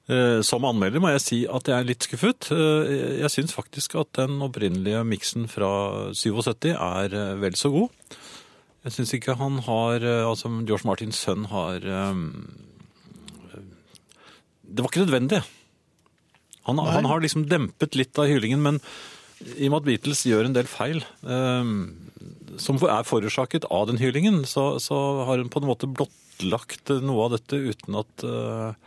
S2: Eh, Som anmelder må jeg si at jeg er litt skuffet. Eh, Jeg syns faktisk at den opprinnelige miksen fra 77 er eh, vel så god. Jeg syns ikke han har eh, Altså, George Martins sønn har eh, Det var ikke nødvendig. Han, han har liksom dempet litt av hylingen, men i og med at Beatles gjør en del feil eh, som er forårsaket av den hylingen, så, så har hun på en måte blottlagt noe av dette uten at eh,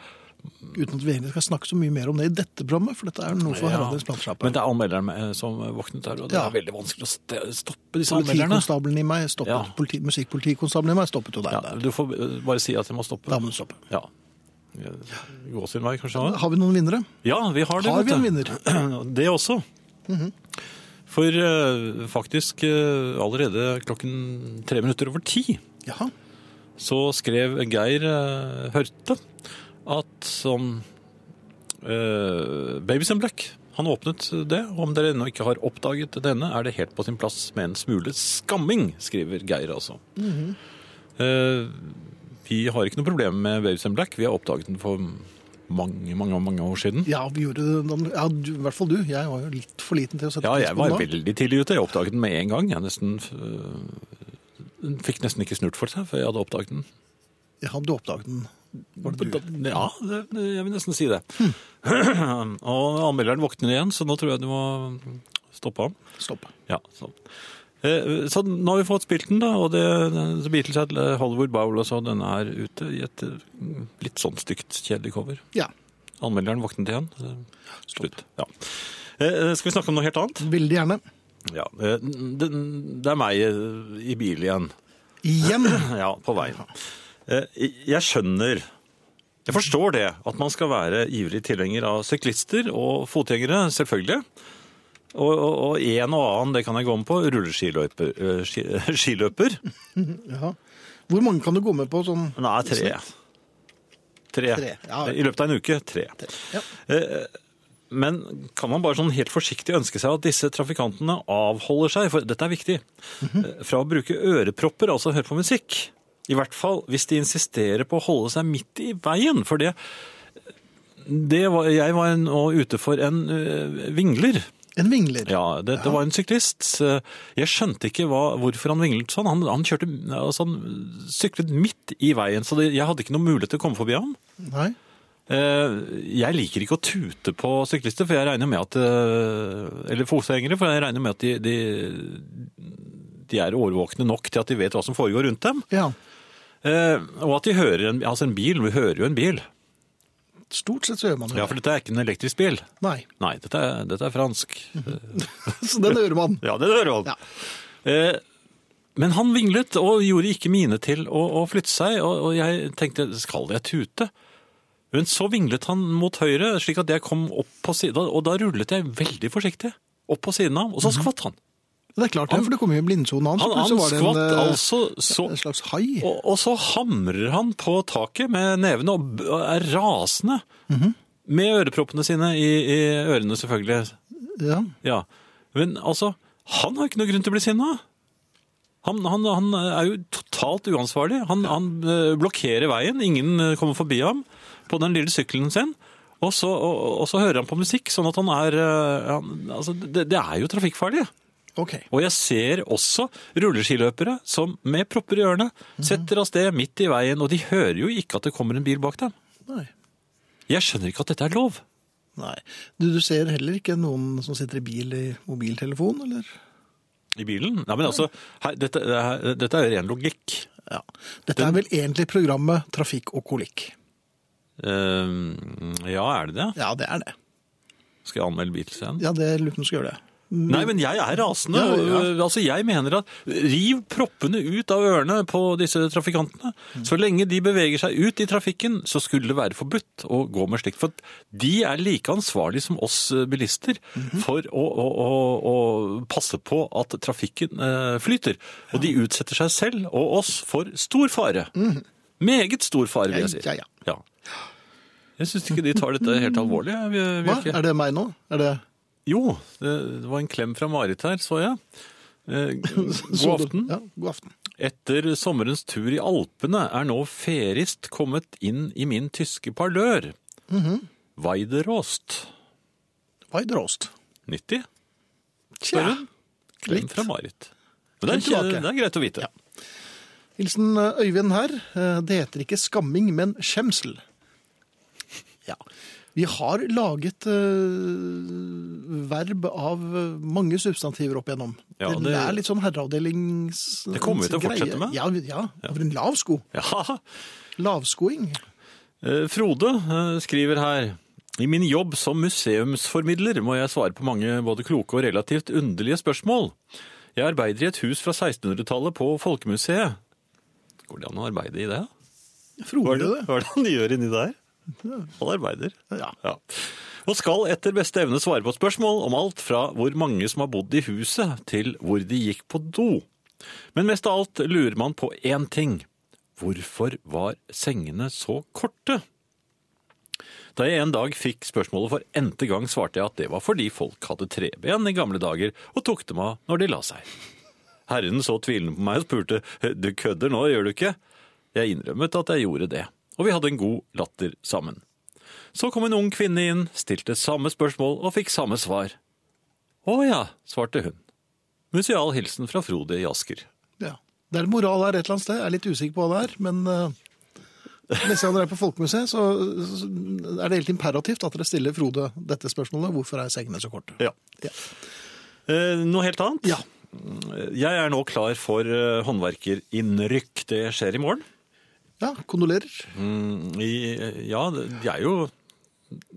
S1: Uten at vi egentlig skal snakke så mye mer om det i dette programmet, for dette er jo noe for
S2: Ja.
S1: herreavdelingens platesjappe.
S2: Men det er anmelderen eh, som våknet her, og det
S1: Ja.
S2: er veldig vanskelig å ste- stoppe disse anmelderne.
S1: Politikonstabelen i meg stoppet.
S2: Ja.
S1: Politi, musikkpolitikonstabelen i meg stoppet jo der.
S2: Ja,
S1: der.
S2: du får eh, bare si at jeg må stoppe.
S1: Da må du stoppe.
S2: Ja. Gåsehudvei, kanskje? også?
S1: Har vi noen vinnere?
S2: Ja, vi har det.
S1: Har vi
S2: vet
S1: en
S2: du.
S1: vinner? Mhm.
S2: Det også. For eh, faktisk eh, allerede klokken tre minutter over ti
S1: Jaha.
S2: så skrev Geir eh, Hørte at som eh, Babies in Black han åpnet det. Om dere ennå ikke har oppdaget denne, er det helt på sin plass med en smule skamming, skriver Geir altså. Eh, vi har ikke noe problem med Babies in Black. Vi har oppdaget den for mange, mange, mange år siden.
S1: Ja, vi gjorde det. da- Ja, du, I hvert fall du. Jeg var jo litt for liten til å sette
S2: Ja,
S1: pris
S2: jeg
S1: på
S2: var
S1: den da.
S2: veldig tidlig ute. Jeg oppdaget den med en gang. Jeg nesten øh, fikk nesten ikke snurt for seg før jeg hadde oppdaget den.
S1: Ja, du oppdaget den. Var det du?
S2: Ja, det, jeg vil nesten si det. Og anmelderen våkner igjen, så nå tror jeg du må stoppe ham.
S1: Stopp.
S2: Ja, så. Eh, Så nå har vi fått spilt den, da, og det, The Beatles at eh, Hollywood Bowl og så, den er ute i et eh, litt sånn stygt, kjedelig cover.
S1: Ja.
S2: Anmelderen våknet igjen. Eh, Slutt. Ja. Eh, Skal vi snakke om noe helt annet?
S1: Veldig gjerne.
S2: Ja. eh, Det, det er meg eh, i bil igjen.
S1: Igjen.
S2: Ja, på veien. Eh, Jeg skjønner Jeg forstår det, at man skal være ivrig tilhenger av syklister og fotgjengere, selvfølgelig. Og, og, og en og annen, det kan jeg gå med på, rulleskiløper. eh, Ski, skiløper.
S1: Ja. Hvor mange kan du gå med på sånn
S2: Nei, tre. Tre.
S1: Tre, ja.
S2: I løpet av en uke, tre.
S1: Ja.
S2: Eh, Men kan man bare sånn helt forsiktig ønske seg at disse trafikantene avholder seg, for dette er viktig, eh, fra å bruke ørepropper, altså høre på musikk? I hvert fall hvis de insisterer på å holde seg midt i veien, for det, det var, jeg var nå ute for en eh, vingler.
S1: En vingler.
S2: Ja, det, det var en syklist. Eh, Jeg skjønte ikke hva, hvorfor han vinglet sånn. Han, han, kjørte, altså han syklet midt i veien, så det, jeg hadde ikke noen mulighet til å komme forbi ham.
S1: Nei.
S2: Eh, Jeg liker ikke å tute på syklister, for jeg regner med at eh, Eller fotgjengere, for jeg regner med at de, de, de er årvåkne nok til at de vet hva som foregår rundt dem.
S1: Ja.
S2: Eh, Og at de hører en, altså en bil. Vi hører jo en bil.
S1: Stort sett så gjør man jo
S2: Ja,
S1: det.
S2: For dette er ikke en elektrisk bil.
S1: Nei.
S2: Nei, dette er, dette er fransk.
S1: Så den hører man.
S2: Ja, det hører man.
S1: Ja.
S2: Eh, men han vinglet og gjorde ikke mine til å, å flytte seg, og, og jeg tenkte, skal jeg tute? Men så vinglet han mot høyre, slik at jeg kom opp på siden, og da rullet jeg veldig forsiktig opp på siden av, og så skvatt han.
S1: Det er klart det,
S2: Han-
S1: for det kom jo i blindsonen hans.
S2: Han,
S1: plutselig Mhm. var det
S2: han
S1: en,
S2: skvatt
S1: eh,
S2: altså så...
S1: En slags hai.
S2: Og, og så hamrer han på taket med nevene og b- og er rasende.
S1: Mhm.
S2: Med øreproppene sine i, i ørene, selvfølgelig.
S1: Ja.
S2: Ja, men altså, han har ikke noe grunn til å bli sinna. Han, han, han er jo totalt uansvarlig. Han, han eh, blokkerer veien, ingen eh, kommer forbi ham på den lille sykkelen sin. Og så, og, og så hører han på musikk, sånn at han er eh, han, altså, det, det er jo trafikkfarlig.
S1: Ok.
S2: Og jeg ser også rulleskiløpere som med propper i ørene setter av sted midt i veien, og de hører jo ikke at det kommer en bil bak dem.
S1: Nei.
S2: Jeg skjønner ikke at dette er lov.
S1: Nei. Du, du ser heller ikke noen som sitter i bil i mobiltelefon, eller?
S2: I bilen? Nei, men altså, her, dette, her, dette er ren logikk.
S1: Ja. Dette er vel egentlig programmet Trafikk og kolikk.
S2: Eh, ja, er det det?
S1: Ja, det er det.
S2: Skal jeg anmelde Beatles igjen?
S1: Ja, det lurte hun skulle gjøre det.
S2: Nei, men jeg er rasende.
S1: Mm. Ja, ja.
S2: og, øh, Altså, jeg mener at riv proppene ut av ørene på disse trafikantene.
S1: Mm.
S2: Så lenge de beveger seg ut i trafikken, så skulle det være forbudt å gå med slikt. For de er like ansvarlige som oss øh, bilister
S1: Mhm.
S2: for å, å, å, å passe på at trafikken øh, flyter. Og de utsetter seg selv og oss for stor fare. Meget stor fare, vil jeg si.
S1: Mm. Ja, ja,
S2: ja. Jeg syns ikke de tar dette helt alvorlig. jeg, vi- vi
S1: Hva?
S2: er ikke-
S1: Er det meg nå? Er det
S2: jo, det det var en klem fra Marit her, så jeg. Eh, God
S1: Så du-
S2: aften.
S1: Ja, god aften.
S2: Etter sommerens tur i Alpene er nå ferist kommet inn i min tyske parlør.
S1: Mhm.
S2: Weiderost.
S1: Weiderost.
S2: 90?
S1: Tja.
S2: Klem
S1: Litt.
S2: fra Marit.
S1: Klem
S2: Men det er, ikke-
S1: tilbake.
S2: det er greit å vite.
S1: Hilsen eh, Øyvind her. Det heter ikke skamming, men skjemsel. Ja. Vi har laget eh, verb av eh, mange substantiver opp igjennom.
S2: Ja,
S1: det,
S2: det-
S1: er litt sånn herreavdelings...
S2: Det kommer vi til å
S1: greie.
S2: fortsette med.
S1: Ja, vi- ja, over en lavsko.
S2: Ja.
S1: Lavskoing.
S2: Eh, Frode eh, skriver her i min jobb som museumsformidler må jeg svare på mange både kloke og relativt underlige spørsmål. Jeg arbeider i et hus fra 1600-tallet på Folkemuseet. Går det an å arbeide i det? Hva
S1: Frode
S2: er det,
S1: det.
S2: hva er det han gjør inni der? Han arbeider.
S1: Ja.
S2: Ja. Og skal etter beste evne svare på spørsmål om alt fra hvor mange som har bodd i huset, til hvor de gikk på do. Men mest av alt lurer man på én ting. Hvorfor var sengene så korte? Da jeg en dag fikk spørsmålet for n-te gang, svarte jeg at det var fordi folk hadde tre ben i gamle dager og tok dem av når de la seg. Herren så tvilende på meg og spurte «Du kødder nå, gjør du ikke?» Jeg innrømmet at jeg gjorde det, og vi hadde en god latter sammen. Så kom en ung kvinne inn, stilte samme spørsmål og fikk samme svar. Å ja, svarte hun. Museal hilsen fra Frode i Asker.
S1: Ja. Det er en moral her et eller annet sted. Jeg er litt usikker på hva det er, men eh, neste gang dere er på Folkemuseet, så, så er det helt imperativt at dere stiller Frode dette spørsmålet. Hvorfor er sengene så korte?
S2: Ja. Eh, noe helt annet?
S1: Ja.
S2: Jeg er nå klar for eh, håndverkerinnrykk. Det skjer i morgen.
S1: Ja, kondolerer.
S2: Mm, i, ja, det det er jo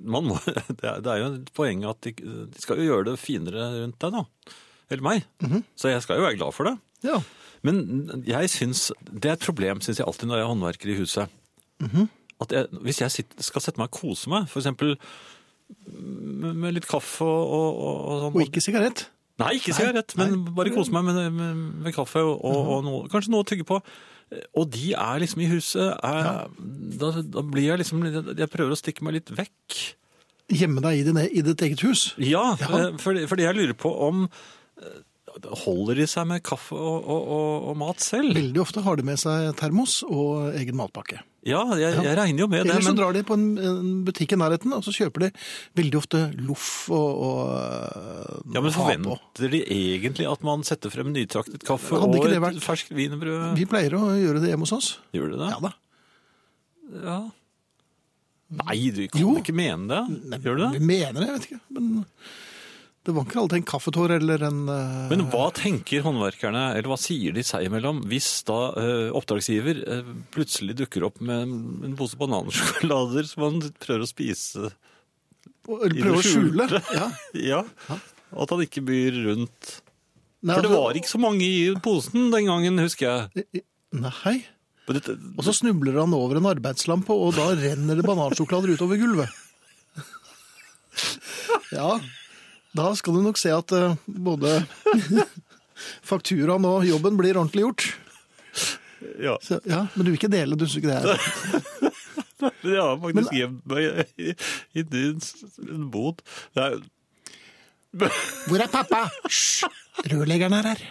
S2: man må, det, er, det er jo et poeng at de, de skal jo gjøre det finere rundt deg, da. Eller meg. Så jeg skal jo være glad for det.
S1: Ja.
S2: Men jeg synes, det er et problem synes jeg alltid når jeg er håndverker i huset. At jeg, hvis jeg sitter, skal sette meg og kose meg, for eksempel med med litt kaffe og, og, og, og sånn.
S1: Og ikke sigarett.
S2: Nei, ikke sigarett, men bare kose meg med, med, med kaffe og, og, og noe, kanskje noe å tygge på. Og de er liksom i huset. Er, da, da blir jeg liksom litt- Jeg prøver å stikke meg litt vekk.
S1: Gjemme deg i, din, e- i ditt eget hus.
S2: Ja,
S1: Ja.
S2: eh, fordi, fordi jeg lurer på om eh, Holder de seg med kaffe og, og, og, og mat selv?
S1: Veldig ofte har de med seg termos og egen matpakke.
S2: Ja, jeg, jeg regner jo med det.
S1: Ellers så
S2: Men,
S1: drar de på en, en butikk i nærheten, og så kjøper de veldig ofte loff og, og
S2: ja, men
S1: ha på.
S2: forventer de egentlig at man setter frem nytraktet kaffe
S1: Hadde
S2: og
S1: ikke det
S2: et
S1: vært-
S2: ferskt wienerbrød?
S1: Vi pleier å gjøre det hjemme hos oss.
S2: Gjør de det?
S1: Ja da.
S2: Ja. Nei, du kan
S1: Jo.
S2: ikke mene det. Gjør du det?
S1: Vi mener det, jeg vet ikke. Men det var ikke alltid en kaffetår eller en eh,
S2: Men hva tenker håndverkerne, eller hva sier de seg imellom, hvis da eh, oppdragsgiver eh, plutselig dukker opp med en, en pose banansjokolader som man prøver å spise?
S1: Eller
S2: i det
S1: prøve eh, å skjule.
S2: skjulte.
S1: Ja.
S2: Ja, at han ikke byr rundt.
S1: Nei,
S2: For det var ikke så mange i posen den gangen, husker jeg.
S1: ikke Nei.
S2: Og dette-
S1: Og så snubler han over en arbeidslampe, og da renner det banansjokolader utover gulvet. Ja, da skal du nok se at eh, både fakturaen og jobben blir ordentlig gjort.
S2: Ja,
S1: Så, ja, men du vil ikke dele, du syns ikke det er
S2: men jeg har faktisk gjemt meg i- i din bod. Det er,
S1: Hvor er pappa? Hysj! Rørleggeren er her.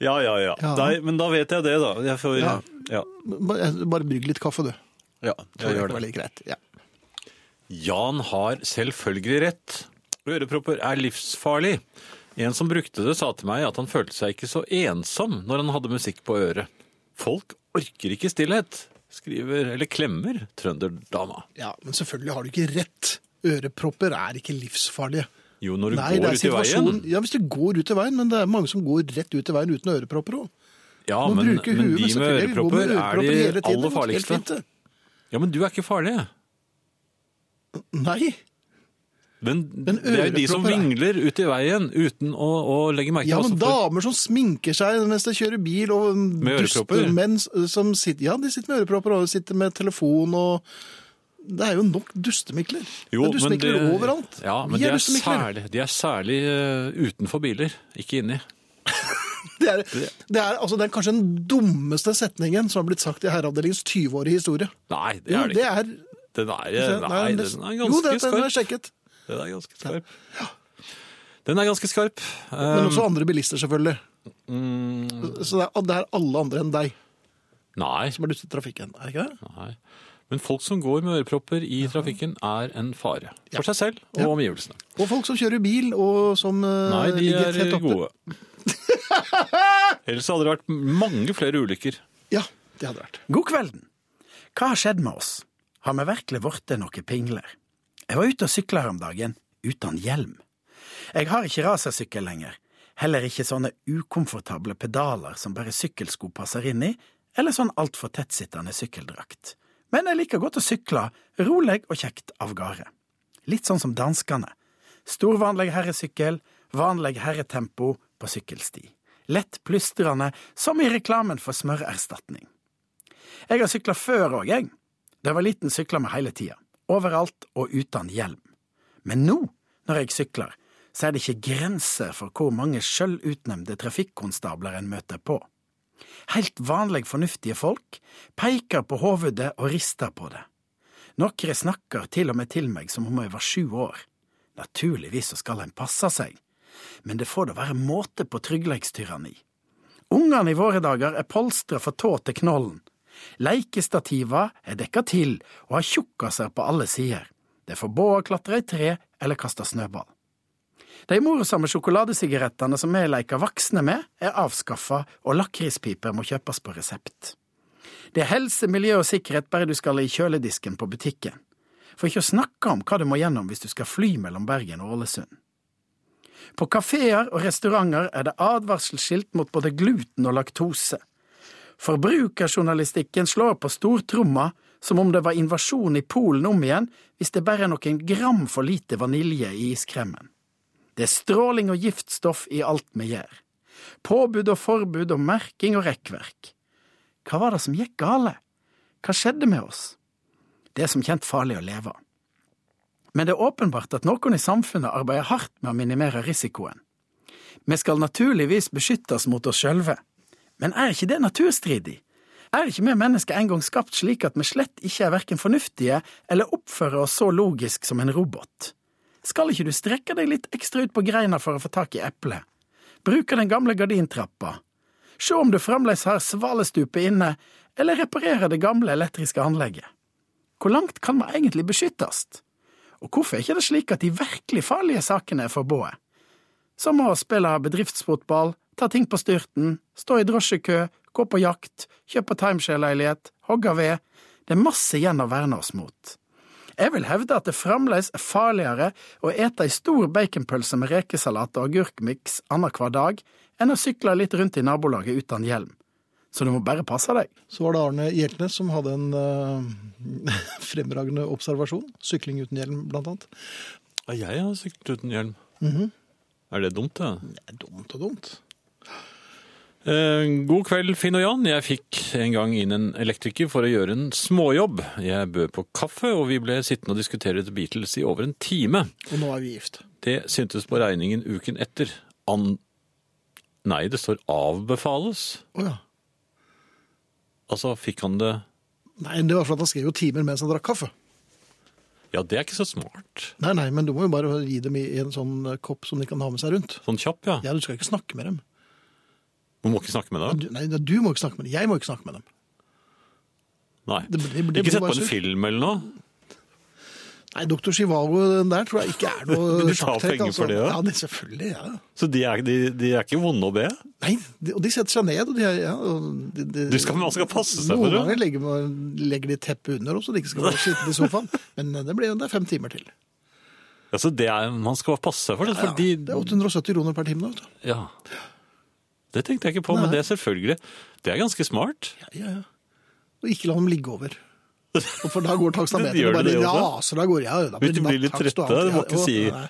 S2: ja, ja, ja.
S1: Ja.
S2: Nei, men da vet jeg det, da. Jeg får, ja.
S1: Ja.
S2: Ja,
S1: Bare, eh, bare brygg litt kaffe, du.
S2: jeg gjør
S1: var
S2: det.
S1: litt greit. Ja.
S2: Jan har selvfølgelig rett. Ørepropper er livsfarlig. En som brukte det, sa til meg at han følte seg ikke så ensom når han hadde musikk på øret. Folk orker ikke stillhet, skriver, eller klemmer, trønderdama.
S1: ja, Men selvfølgelig har du ikke rett. Ørepropper er ikke livsfarlige.
S2: Jo, når du
S1: Nei, det
S2: går
S1: er
S2: ut i veien.
S1: situasjonen. Ja, hvis du går ut i veien, men det er mange som går rett ut i veien uten ørepropper òg.
S2: Ja,
S1: Man
S2: men,
S1: bruker
S2: men
S1: huet,
S2: de med
S1: selvfølgelig går
S2: ørepropper er
S1: ørepropper hele
S2: de
S1: tiden,
S2: aller
S1: det er helt
S2: farligste.
S1: fint, det.
S2: Ja, men du er ikke farlig.
S1: Nei.
S2: Men, det er jo de som
S1: ørepropper er-
S2: vingler ut i veien uten å, å legge merke til
S1: Ja,
S2: hva
S1: men
S2: som får-
S1: damer som sminker seg mens de kjører bil, og
S2: Med ørepropper?
S1: menn som sitter Ja, de sitter med ørepropper og sitter med telefon og Det er jo nok dustemikler.
S2: Jo,
S1: det er
S2: men
S1: dustemikler
S2: det-
S1: overalt.
S2: Ja, men
S1: Vi
S2: de, er
S1: dustemikler.
S2: særlig, de er særlig eh, utenfor biler, ikke inni.
S1: Det er, det, er, altså, det er kanskje den dummeste setningen som har blitt sagt i Herreavdelingens 20-årige historie.
S2: Nei, det
S1: Jo,
S2: er det
S1: det
S2: ikke.
S1: er,
S2: Den er,
S1: det
S2: eh,
S1: er-
S2: nei,
S1: det-
S2: den er
S1: Jo, det,
S2: ganske
S1: den er
S2: skarp.
S1: sjekket.
S2: Den er ganske skarp. Den er ganske skarp.
S1: Men
S2: Um, mm.
S1: også andre bilister, selvfølgelig. Så det er, det er alle andre enn deg
S2: Nei,
S1: som har lyst til trafikken. Er det ikke det?
S2: nei. Men folk som går med ørepropper i trafikken er en fare. For seg selv og
S1: Ja.
S2: omgivelsene.
S1: Og folk som kjører bil, og som eh,
S2: Nei, de
S1: ligger
S2: er
S1: tett oppe.
S2: gode. Ellers hadde det vært mange flere ulykker.
S1: Ja, det hadde vært.
S4: God kvelden. Hva har skjedd med oss? Har vi virkelig blitt noen pingler? Jeg var ute og sykla her om dagen, uten hjelm. Jeg har ikke racersykkel lenger, heller ikke sånne ukomfortable pedaler som bare sykkelsko passer inn i, eller sånn altfor tettsittende sykkeldrakt. Men jeg liker godt å sykle, rolig og kjekt av gårde. Litt sånn som danskene. Stor vanlig herresykkel, vanlig herretempo på sykkelsti. Lett plystrende, som i reklamen for smørerstatning. Jeg har sykla før òg, jeg. Da jeg var liten, sykla vi hele tida. Overalt og uten hjelm. Men nå, når jeg sykler, så er det ikke grenser for hvor mange sjølutnevnte trafikkonstabler en møter på. Helt vanlig fornuftige folk peker på hovedet og rister på det. Noen snakker til og med til meg som om jeg var sju år. Naturligvis så skal en passe seg, men det får da være måte på trygghetstyranni. Ungene i våre dager er polstra fra tå til knollen. Leikestativa er dekka til og har tjukkaser på alle sider. Det er forbudt å klatre i tre eller kaste snøball. De morsomme sjokoladesigarettene som vi leker voksne med, er avskaffa, og lakrispiper må kjøpes på resept. Det er helse, miljø og sikkerhet bare du skal i kjøledisken på butikken. For ikke å snakke om hva du må gjennom hvis du skal fly mellom Bergen og Ålesund. På kafeer og restauranter er det advarselsskilt mot både gluten og laktose. Forbrukerjournalistikken slår på stortromma som om det var invasjon i Polen om igjen hvis det bare er noen gram for lite vanilje i iskremmen. Det er stråling og giftstoff i alt vi gjør. Påbud og forbud og merking og rekkverk. Hva var det som gikk gale? Hva skjedde med oss? Det er som kjent farlig å leve av. Men det er åpenbart at noen i samfunnet arbeider hardt med å minimere risikoen. Vi skal naturligvis beskyttes mot oss sjølve, men er ikke det naturstridig? Er ikke vi mennesker engang skapt slik at vi slett ikke er verken fornuftige eller oppfører oss så logisk som en robot? Skal ikke du strekke deg litt ekstra ut på greina for å få tak i eplet? Bruke den gamle gardintrappa? Se om du fremdeles har svalestupet inne, eller reparere det gamle elektriske anlegget? Hvor langt kan vi egentlig beskyttes? Og hvorfor er ikke det slik at de virkelig farlige sakene er forbudt? Som å spille bedriftsfotball, ta ting på styrten, stå i drosjekø, gå på jakt, kjøpe timeshare-leilighet, hogge ved. Det er masse igjen å verne oss mot. Jeg vil hevde at det fremdeles er farligere å ete ei stor baconpølse med rekesalat og agurkmiks annenhver dag enn å sykle litt rundt i nabolaget uten hjelm. Så du må bare passe deg.
S1: Så var det Arne Hjeltnes som hadde en eh, fremragende observasjon. Sykling uten hjelm, blant annet.
S2: Ja, Jeg har syklet uten hjelm.
S1: Mhm.
S2: Er det dumt, det?
S1: Det er dumt og dumt.
S2: Eh, God kveld, Finn og Jan. Jeg fikk en gang inn en elektriker for å gjøre en småjobb. Jeg bød på kaffe, og vi ble sittende og diskutere The Beatles i over en time.
S1: Og nå er vi gift.
S2: Det syntes på regningen uken etter. An... Nei, det står avbefales.
S1: Å ja.
S2: Altså, fikk han det
S1: Nei, det var for at han skrev jo timer mens han drakk kaffe.
S2: Ja, det er ikke så smart.
S1: Nei, nei, men du må jo bare gi dem i en sånn eh, kopp som de kan ha med seg rundt.
S2: Sånn kjapp, ja.
S1: Ja, du skal ikke snakke med dem.
S2: Man må ikke snakke med deg.
S1: Du, nei, du må ikke snakke med dem. Jeg må ikke snakke med dem.
S2: Nei.
S1: Det blir- det blir
S2: Ikke sett
S1: bare
S2: på en
S1: surt.
S2: film eller noe.
S1: Nei, doktor Chivago den der tror jeg ikke er noe
S2: Du tar
S1: sjakktrekk, altså.
S2: penger for det, ja?
S1: Ja, det, selvfølgelig. ja.
S2: Så de er, de, de er ikke vonde å be.
S1: Nei, de, og de setter seg ned, og de er ja, og de, de,
S2: Du skal, man skal passe seg
S1: Noen
S2: for det.
S1: ganger legger, man- legger de teppet under oss, så de ikke skal være skitne i sofaen. Men eh, det, blir, det er fem timer til.
S2: Altså, det er, man skal passe seg for det,
S1: Ja,
S2: fordi
S1: det er 870 kroner per time nå, vet du.
S2: Ja. Det tenkte jeg ikke på, men
S1: Nei.
S2: det er selvfølgelig. Det er ganske smart.
S1: Ja, ja, ja. Og ikke la dem ligge over. Og For da går takstameteren
S2: Gjør
S1: og
S2: det
S1: bare
S2: det også?
S1: raser av gårde. Ja, ja, da
S2: Hvis de blir litt
S1: natttakst og
S2: trette,
S1: alt.
S2: du må ikke
S1: og-
S2: si-
S1: Nei,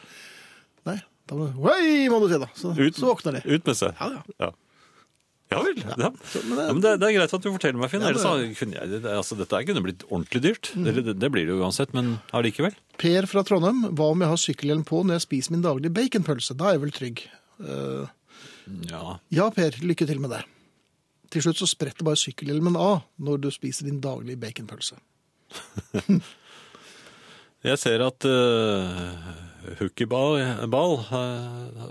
S1: nei da må du Hei, må du si, da. Så,
S2: Ut,
S1: så våkner de.
S2: Ut med seg.
S1: Ja, ja.
S2: Ja, Ja vel. Ja.
S1: Så, men det-
S2: Ja, men det, det er greit at du forteller meg, Finn.
S1: Ja, det- Mm.
S2: Ellers så kunne jeg, det, altså, dette her kunne blitt ordentlig dyrt. Eller, det, det blir det jo uansett, men allikevel.
S1: Per fra Trondheim, hva om jeg har sykkelhjelm på når jeg spiser min daglige baconpølse? Da er jeg vel trygg. Eh,
S2: Ja.
S1: ja, Per, lykke til med det. Til slutt så spretter bare sykkelhjelmen av når du spiser din daglige baconpølse.
S2: Jeg ser at uh, Hookyball eh,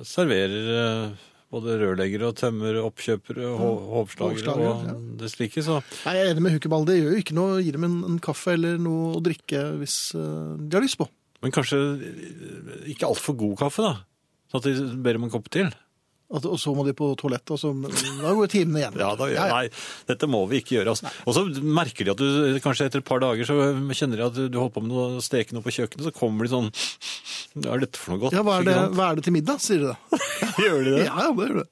S2: serverer eh, både rørleggere og tømmeroppkjøpere og
S1: Mm.
S2: hå- hovslagere
S1: hovslagere,
S2: og det slike. Så
S1: Nei, jeg er enig med Hukeball. Det gjør jo ikke noe å gi dem en, en kaffe eller noe å drikke hvis eh, de har lyst på.
S2: Men kanskje eh, ikke altfor god kaffe, da. Sånn at de ber om en kopp til.
S1: At, og så må de på toalettet, og så da går timene igjen.
S2: Ja, da, Nei, dette må vi ikke gjøre. Altså. Og så merker de at du eh, kanskje etter et par dager så kjenner de at du holder på med noe, å steke noe på kjøkkenet, så kommer de sånn Hva er dette for noe godt?
S1: Ja, hva er, det,
S2: Ikke sant?
S1: hva er det til middag, sier du da?
S2: Gjør de det?
S1: Ja, ja, det gjør du.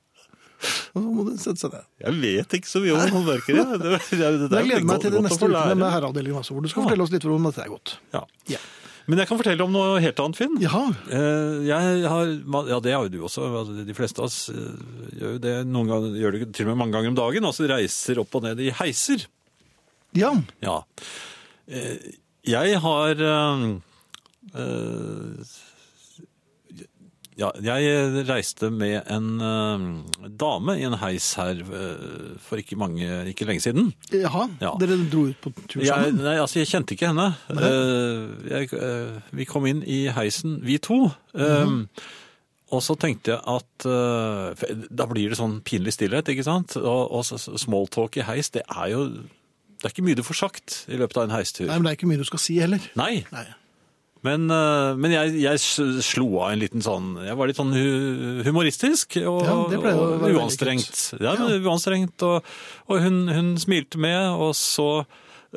S1: Og så må du sette seg ned.
S2: Jeg vet ikke så mye om håndverkere. Det, det, det, det,
S1: Jeg gleder meg til de
S2: godt å
S1: neste
S2: få
S1: ukene
S2: lære.
S1: med herreavdelingen også, hvor du skal
S2: Ja.
S1: fortelle oss litt om dette er godt.
S2: Ja.
S1: Ja.
S2: Men jeg kan fortelle om noe helt annet, Finn.
S1: Jaha.
S2: Eh, Jeg har, ja, det har jo du også. Altså, De fleste av oss eh, gjør jo det, noen ganger, gjør det til og med mange ganger om dagen. Altså reiser opp og ned i heiser.
S1: Ja.
S2: Ja. Eh, Jeg har eh, eh, ja, Jeg reiste med en eh, dame i en heis her eh, for ikke, mange, ikke lenge siden.
S1: Jaha.
S2: Ja.
S1: Dere dro ut på tur
S2: Jeg,
S1: sammen?
S2: nei, altså, jeg kjente ikke henne. Eh, jeg, eh, vi kom inn i heisen, vi to. Eh, Og så tenkte jeg at eh, for Da blir det sånn pinlig stillhet, ikke sant? Og, og så- så smalltalk i heis, det er jo Det er ikke mye du får sagt i løpet av en heistur.
S1: Nei, men det er ikke mye du skal si heller.
S2: Nei,
S1: Nei.
S2: men, eh, men jeg, jeg s- slo av en liten sånn Jeg var litt sånn hu humoristisk og,
S1: Ja, det pleier å
S2: og
S1: være veldig
S2: uanstrengt. Ja, men uanstrengt. Og, og hun, hun smilte med, og så,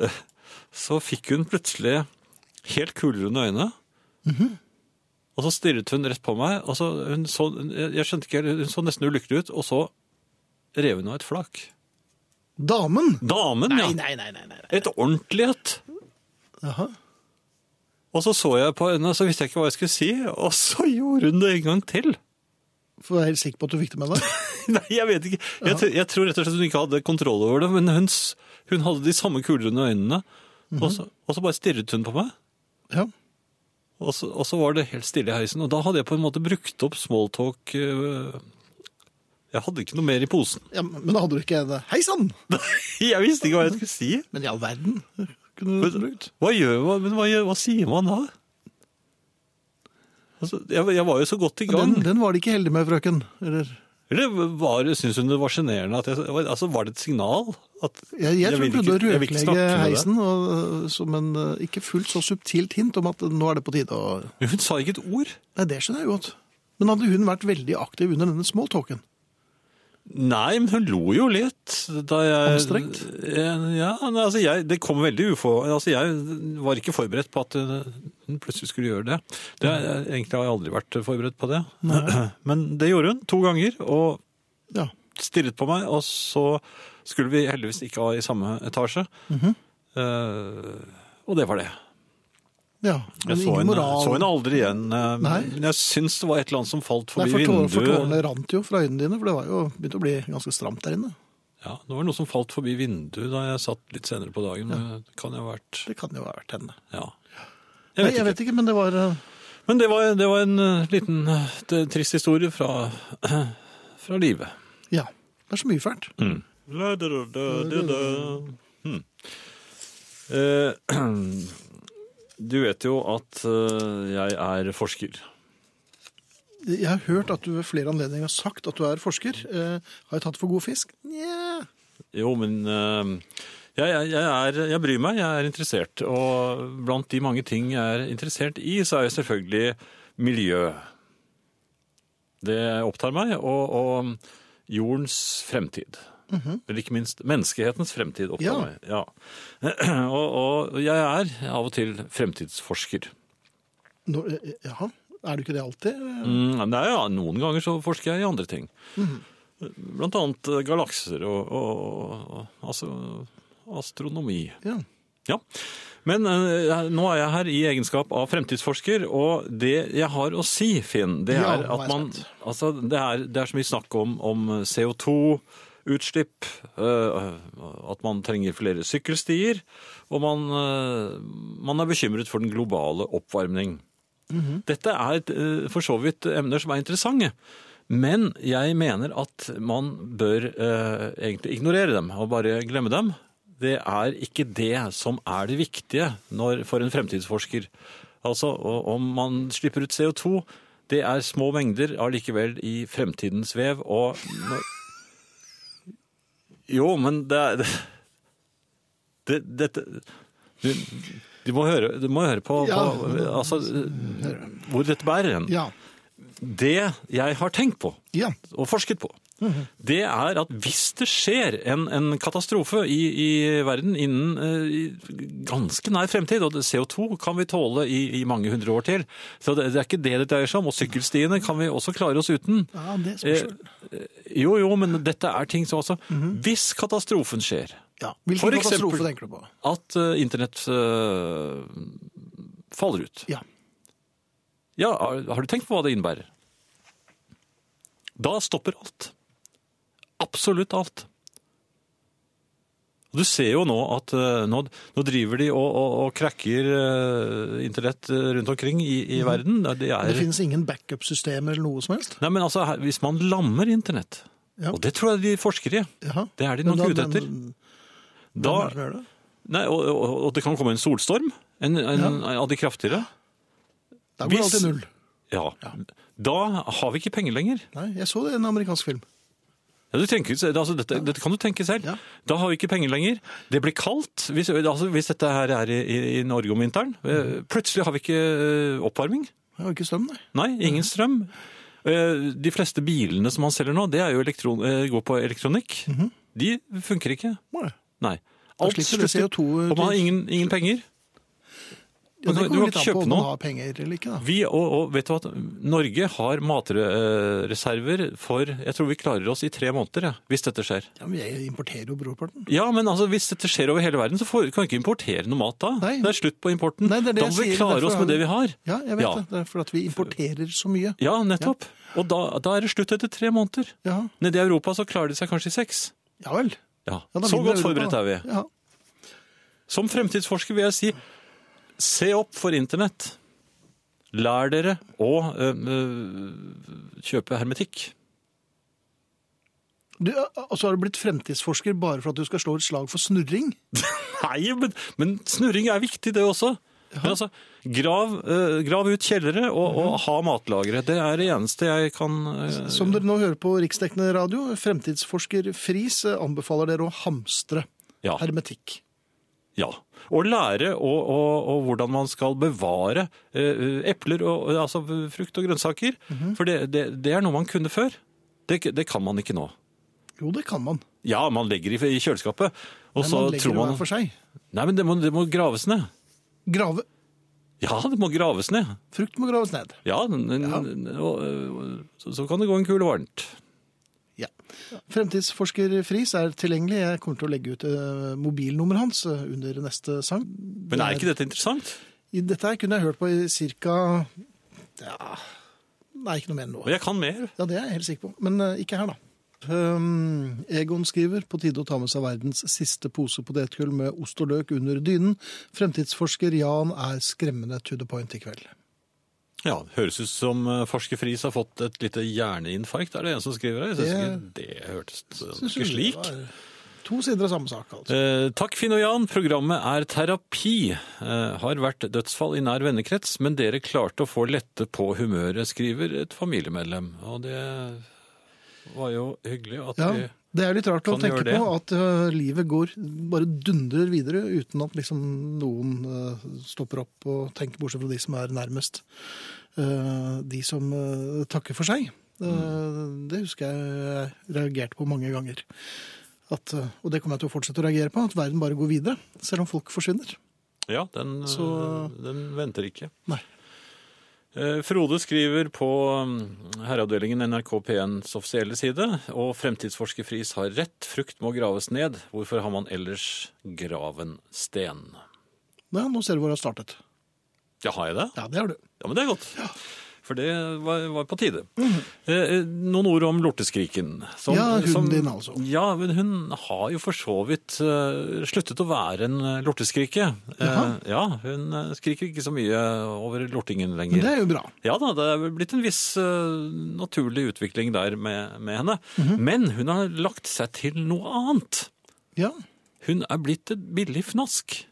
S2: eh,
S1: Mhm.
S2: så fikk hun plutselig helt kulrunde øyne. Og så stirret hun rett på meg, og så hun så, jeg skjønte ikke, helt, hun så nesten ulykkelig ut, og så rev hun av et flak.
S1: Damen!
S2: Damen, ja!
S1: Nei, nei, nei. nei, nei.
S2: Et ordentlig et.
S1: Jaha.
S2: Og så så jeg på henne, så visste jeg ikke hva jeg skulle si, og så gjorde hun det en gang til.
S1: For jeg er helt sikker på at du fikk det med deg.
S2: Nei, jeg vet ikke. Jeg, tr- jeg tror rett og slett hun ikke hadde kontroll over det, men hun, s- hun hadde de samme kulene i øynene. og, så, og så bare stirret hun på meg,
S1: Ja.
S2: og så, og så var det helt stille i heisen. Og da hadde jeg på en måte brukt opp smalltalk øh, Jeg hadde ikke noe mer i posen.
S1: ja, Men da hadde du ikke en Hei sann!
S2: Jeg visste ikke hva jeg skulle si.
S1: Men i all verden kunne du
S2: Men, hva gjør man? Men hva, gjør, hva sier man da? Altså, jeg, jeg var jo så godt i gang.
S1: den, den var de ikke heldige med, frøken. Eller,
S2: Eller var, synes hun det var sjenerende? at jeg- Altså, var det et signal? At
S1: jeg, jeg, tror
S2: vil
S1: hun prøvde
S2: ikke-
S1: å
S2: jeg vil ikke snakke
S1: rødlegge
S2: med deg?
S1: heisen og, øh, som en øh, ikke fullt så subtilt hint om at nå er det på tide å
S2: Men Hun sa ikke et ord.
S1: Nei, det skjønner jeg godt. Men hadde hun vært veldig aktiv under denne smalltalken?
S2: Nei, men hun lo jo litt. Da jeg,
S1: Anstrengt?
S2: Ja, nei, altså jeg, det kom veldig ufo... Altså jeg var ikke forberedt på at uh, hun plutselig skulle gjøre det. det er- egentlig har jeg aldri vært forberedt på det. Men det gjorde hun to ganger, og
S1: Ja.
S2: stirret på meg. Og så skulle vi heldigvis ikke ha i samme etasje. Eh, og det var det.
S1: ja. Men
S2: Jeg så
S1: ingen
S2: henne,
S1: moral.
S2: så henne aldri igjen. eh,
S1: Nei.
S2: Men jeg syns det var et eller annet som falt
S1: Nei,
S2: forbi
S1: for, tårer, for
S2: vinduet.
S1: tårene rant jo fra øynene dine, for det var jo begynt å bli ganske stramt der inne.
S2: Ja, det var noe som falt forbi vinduet da jeg satt litt senere på dagen. men Det kan jo ha vært
S1: Det kan jo ha vært henne.
S2: Ja.
S1: Nei,
S2: Jeg vet
S1: jeg
S2: ikke.
S1: vet ikke, men det var øh,
S2: Men det var, det var en eh, liten eh, t- trist historie fra, fra livet. Mm.
S1: Ja. Det er så mye fælt.
S2: Hmm. Eh, Du vet jo at eh, jeg er forsker.
S1: Jeg har hørt at du ved flere anledninger har sagt at du er forsker. Eh, har jeg tatt for god fisk? Nja
S2: Jo, men eh, jeg, jeg, jeg, er, jeg bryr meg, jeg er interessert. Og blant de mange ting jeg er interessert i, så er jo selvfølgelig miljø. Det opptar meg, og, og jordens fremtid. Eller ikke minst menneskehetens fremtid opptar
S1: Ja.
S2: meg. Ja. og, og jeg er av og til fremtidsforsker.
S1: Nå, eh, eh, Jaha. Er du ikke det alltid? Eh,
S2: Mm, nei, ja, noen ganger så forsker jeg i andre ting. Blant annet eh, galakser og, og, og altså, astronomi.
S1: Ja.
S2: Ja, men eh, nå er jeg her i egenskap av fremtidsforsker, og det jeg har å si, Finn, det
S1: Ja, nå
S2: er at
S1: er jeg
S2: man
S1: spent.
S2: Altså, det er, det er så mye snakk om, om CO2-utslipp, eh, at man trenger flere sykkelstier, og man, eh, man er bekymret for den globale oppvarmning. Dette er eh, for så vidt emner som er interessante. Men jeg mener at man bør eh, egentlig ignorere dem og bare glemme dem. Det er ikke det som er det viktige når, for en fremtidsforsker. Altså o- om man slipper ut CO2, det er små mengder allikevel i fremtidens vev og Jo, men det er det, Dette du, du, må høre, du må høre på,
S1: Ja.
S2: på altså, hvor dette bærer hen.
S1: Ja.
S2: Det jeg har tenkt på
S1: ja.
S2: og forsket på, det er at hvis det skjer en, en katastrofe i, i verden innen eh, i ganske nær fremtid, og det- CO2 kan vi tåle i, i mange hundre år til, så det, det er ikke det det dreier seg om, og sykkelstiene kan vi også klare oss uten. Eh,
S1: ja det spørs vel.
S2: Jo, jo, men dette er ting som altså Hvis katastrofen skjer,
S1: Ja. Hvilken
S2: for eksempel-
S1: katastrofe tenker du på?
S2: at eh, internett eh, faller ut
S1: Ja.
S2: Ja, har, har du tenkt på hva det innebærer? Da stopper alt. Absolutt alt. Og Du ser jo nå at eh, nå, nå driver de og, og, og cracker eh, internett eh, rundt omkring i, i verden. Det er,
S1: Mhm. Det finnes ingen backup-systemer eller noe som helst?
S2: Nei, men altså, her, hvis man lammer internett,
S1: Ja.
S2: og det tror jeg de forsker i,
S1: Jaha.
S2: det er de
S1: Men
S2: nok ute
S1: da-
S2: etter.
S1: men-
S2: Da,
S1: hvem er det som gjør det?
S2: nei, og, og, og det kan komme en solstorm, en, en, av de kraftigere.
S1: Da går det
S2: Hvis-
S1: alltid null.
S2: Ja. Da har vi ikke penger lenger.
S1: Nei, jeg så det i en amerikansk film.
S2: Ja, du tenker, altså, dette, dette kan du tenke selv.
S1: Ja.
S2: Da har vi ikke penger lenger. Det blir kaldt hvis, altså, hvis dette her er i, i, i Norge om vinteren. eh,
S1: Mhm.
S2: Plutselig har vi ikke eh, oppvarming.
S1: Jeg har ikke strøm, nei.
S2: Nei,
S1: Mhm.
S2: ingen strøm. Eh, De fleste bilene som man selger nå, det er jo elektron, eh, går på elektronikk. De funker ikke.
S1: Må det.
S2: Nei.
S1: Mhm. slipper du
S2: slutter-
S1: CO2
S2: Og man har ingen, ingen penger.
S1: Ja,
S2: Men
S1: det kommer
S2: du- du kan
S1: litt an
S2: ikke
S1: på
S2: kjøpe
S1: om man
S2: noe.
S1: har penger eller ikke. da.
S2: Vi, og, og vet du hva, Norge har matreserver for Jeg tror vi klarer oss i tre måneder, ja, hvis dette skjer.
S1: Ja, men Jeg importerer jo brorparten.
S2: Ja, men altså, hvis dette skjer over hele verden, så får, kan vi ikke importere noe mat da.
S1: Nei.
S2: Det er slutt på importen.
S1: Nei, det er det
S2: da må
S1: jeg
S2: vi
S1: sier,
S2: klare
S1: derfor
S2: oss
S1: har
S2: med det
S1: vi-
S2: vi har.
S1: Ja, jeg vet
S2: Ja.
S1: det. Det er fordi at vi importerer så mye.
S2: Ja, nettopp. Og da, da er det slutt etter tre måneder.
S1: Ja,
S2: Nede i Europa så klarer de seg kanskje i seks.
S1: ja vel.
S2: Ja,
S1: Ja, da
S2: Så
S1: vinner
S2: godt
S1: Europa,
S2: forberedt
S1: da.
S2: er vi.
S1: Ja.
S2: Som fremtidsforsker vil jeg si, se opp for internett. Lær dere å øhm, øh, kjøpe hermetikk.
S1: Du, og så har du blitt fremtidsforsker bare for at du skal slå et slag for snurring?
S2: Nei, men, men snurring er viktig det også. Men altså, grav, øh, grav ut kjellere og,
S1: Mhm.
S2: og ha matlagre. Det er det eneste jeg kan øh,
S1: Som dere nå hører på riksdekkende radio, fremtidsforsker Friis eh, anbefaler dere å hamstre
S2: ja,
S1: hermetikk.
S2: ja. Og lære og, og, og hvordan man skal bevare øh, epler og øh, altså, frukt og grønnsaker.
S1: Mhm.
S2: For det, det, det er noe man kunne før. Det, det kan man ikke nå.
S1: Jo, det kan man.
S2: Ja, man legger i, i kjøleskapet, og
S1: Men
S2: så
S1: man legger
S2: tror
S1: det
S2: man
S1: hver for seg.
S2: Nei, men det må, det må graves ned.
S1: Grave.
S2: Ja, det må graves ned.
S1: Frukt må graves ned.
S2: Ja, n- n- og, øh, så, så kan det gå en kule varmt.
S1: Ja. Fremtidsforsker Friis er tilgjengelig. Jeg kommer til å legge ut eh, mobilnummeret hans eh, under neste sang.
S2: Men er ikke dette interessant?
S1: I dette her kunne jeg hørt på i ca. Ja, nei, ikke noe mer enn nå.
S2: Og jeg kan mer.
S1: Ja, det er jeg helt sikker på. Men eh, ikke her, da. Um, Egon skriver på tide å ta med seg verdens siste pose potetgull med ost og løk under dynen. Fremtidsforsker Jan er skremmende to the point i kveld.
S2: Ja, det Høres ut som eh, forsker Friis har fått et lite hjerneinfarkt, er det en som skriver her? Jeg synes ikke det hørtes
S1: Synes
S2: ikke
S1: du det
S2: slik.
S1: var To sider av samme sak, altså.
S2: Eh, takk, Finn og Jan. Programmet er terapi. Eh, har vært dødsfall i nær vennekrets, men dere klarte å få lette på humøret, skriver et familiemedlem. Og det var jo hyggelig at
S1: Ja,
S2: vi
S1: det er litt rart å
S2: kan
S1: tenke
S2: gjøre det.
S1: på at eh, livet går bare dundrer videre uten at liksom noen eh, stopper opp og tenker, bortsett fra de som er nærmest. Eh, de som eh, takker for seg. Eh,
S2: Mm.
S1: Det husker jeg jeg reagerte på mange ganger. At, eh, og det kommer jeg til å fortsette å reagere på, at verden bare går videre, selv om folk forsvinner.
S2: Ja, den, eh,
S1: Så-
S2: den venter ikke.
S1: Nei.
S2: Eh, Frode skriver på mm, herreavdelingen NRK P1s offisielle side, og fremtidsforsker Friis har rett, frukt må graves ned. Hvorfor har man ellers graven sten?
S1: Ja, nå ser du hvor jeg har startet.
S2: Ja, har jeg det?
S1: Ja, det har du.
S2: Ja, men det er godt. For det var, var på tide. Eh, eh, Noen ord om lorteskriken. som-
S1: Mhm. Ja, hunden
S2: som-
S1: din, altså.
S2: Ja, men hun har jo for så vidt eh, sluttet å være en eh, lorteskrike. Eh, ja, hun eh, skriker ikke så mye over lortingen lenger.
S1: Men det er jo bra.
S2: Ja da, det er vel blitt en viss eh, naturlig utvikling der med, med henne.
S1: Mhm.
S2: Men hun har lagt seg til noe annet.
S1: Ja,
S2: Hun er blitt et billig fnask.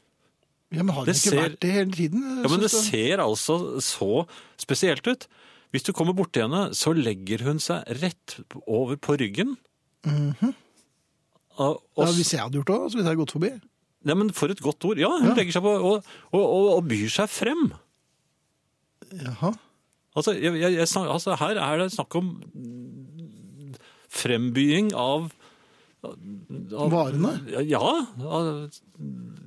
S1: ja men har det
S2: Det
S1: ikke
S2: ser-
S1: vært det hele tiden?
S2: Ja, men det
S1: synes du?
S2: ser altså så spesielt ut. Hvis du kommer borti henne, så legger hun seg rett over på ryggen. Og-
S1: Mhm.
S2: og
S1: ja,
S2: s-
S1: hvis jeg hadde gjort det, så ville jeg gått forbi.
S2: Nei, men for et godt ord. Ja, hun legger seg på og, og, og, og byr seg frem.
S1: Jaha.
S2: Altså, jeg, jeg, jeg, snak- altså, her er det snakk om frembying av, av
S1: Varene?
S2: Ja. av-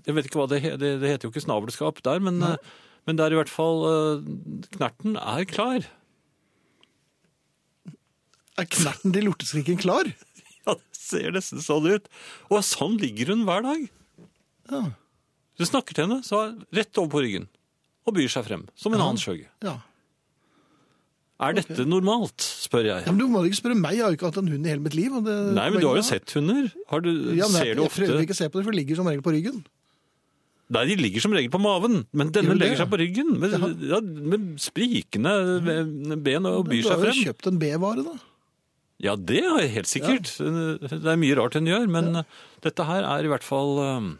S2: Jeg vet ikke hva det heter. Det, det heter jo ikke snabelskap der, men, eh, men det er i hvert fall eh, Knerten er klar.
S1: Er knerten til lorteskriken klar?
S2: Ja, det ser nesten sånn ut. Og sånn ligger hun hver dag.
S1: Ja.
S2: Du snakker til henne, så er hun rett over på ryggen. Og byr seg frem, som en annen skjøge.
S1: ja.
S2: Er dette normalt, spør jeg.
S1: Ja, men Du må ikke spørre meg, jeg har jo ikke hatt en hund i hele mitt liv. Og det,
S2: Nei, men du har jo sett hunder. Har du,
S1: ja, men jeg,
S2: ser du
S1: jeg
S2: ofte
S1: prøver ikke å se på det, for det ligger som regel på ryggen.
S2: Nei, de ligger som regel på maven, men denne
S1: Gjør de det?
S2: legger seg på ryggen. Med, ja, med sprikende ben og byr
S1: Du
S2: seg
S1: har jo
S2: frem.
S1: kjøpt en B-vare, da.
S2: Ja, det er helt sikkert. Det er mye rart hun gjør, men dette her er i hvert fall um,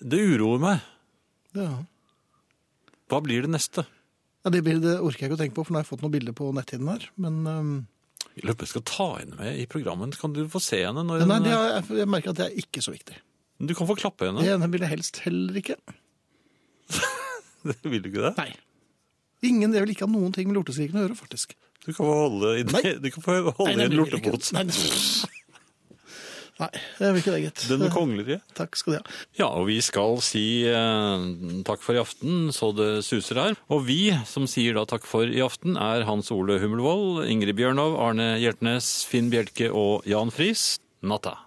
S2: Det uroer meg.
S1: Ja.
S2: Hva blir det neste?
S1: Ja, det, bildet orker jeg ikke å tenke på, for nå har jeg fått noen bilder på netthiden her. Men øhm,
S2: Jeg lurer på om jeg skal ta henne med i programmet. Kan du få se henne? Når
S1: nei,
S2: hun,
S1: det har, jeg, jeg merker at det er ikke så viktig.
S2: Du kan få klappe henne.
S1: Det ene vil jeg helst heller ikke.
S2: Vil du ikke det?
S1: Nei. Ingen, Jeg vil ikke ha noen ting med lorteskriken å gjøre, faktisk.
S2: Du kan få holde i,
S1: Nei.
S2: du kan få holde i en
S1: det vil jeg ikke.
S2: lortepose.
S1: Nei, det- Nei, jeg vil ikke det, gitt.
S2: Den kongelige.
S1: Takk skal du ha.
S2: Ja, og vi skal si eh, takk for i aften, så det suser her. Og vi som sier da takk for i aften, er Hans Ole Hummelvold, Ingrid Bjørnov, Arne Hjertnes, Finn Bjelke og Jan Friis. Natta.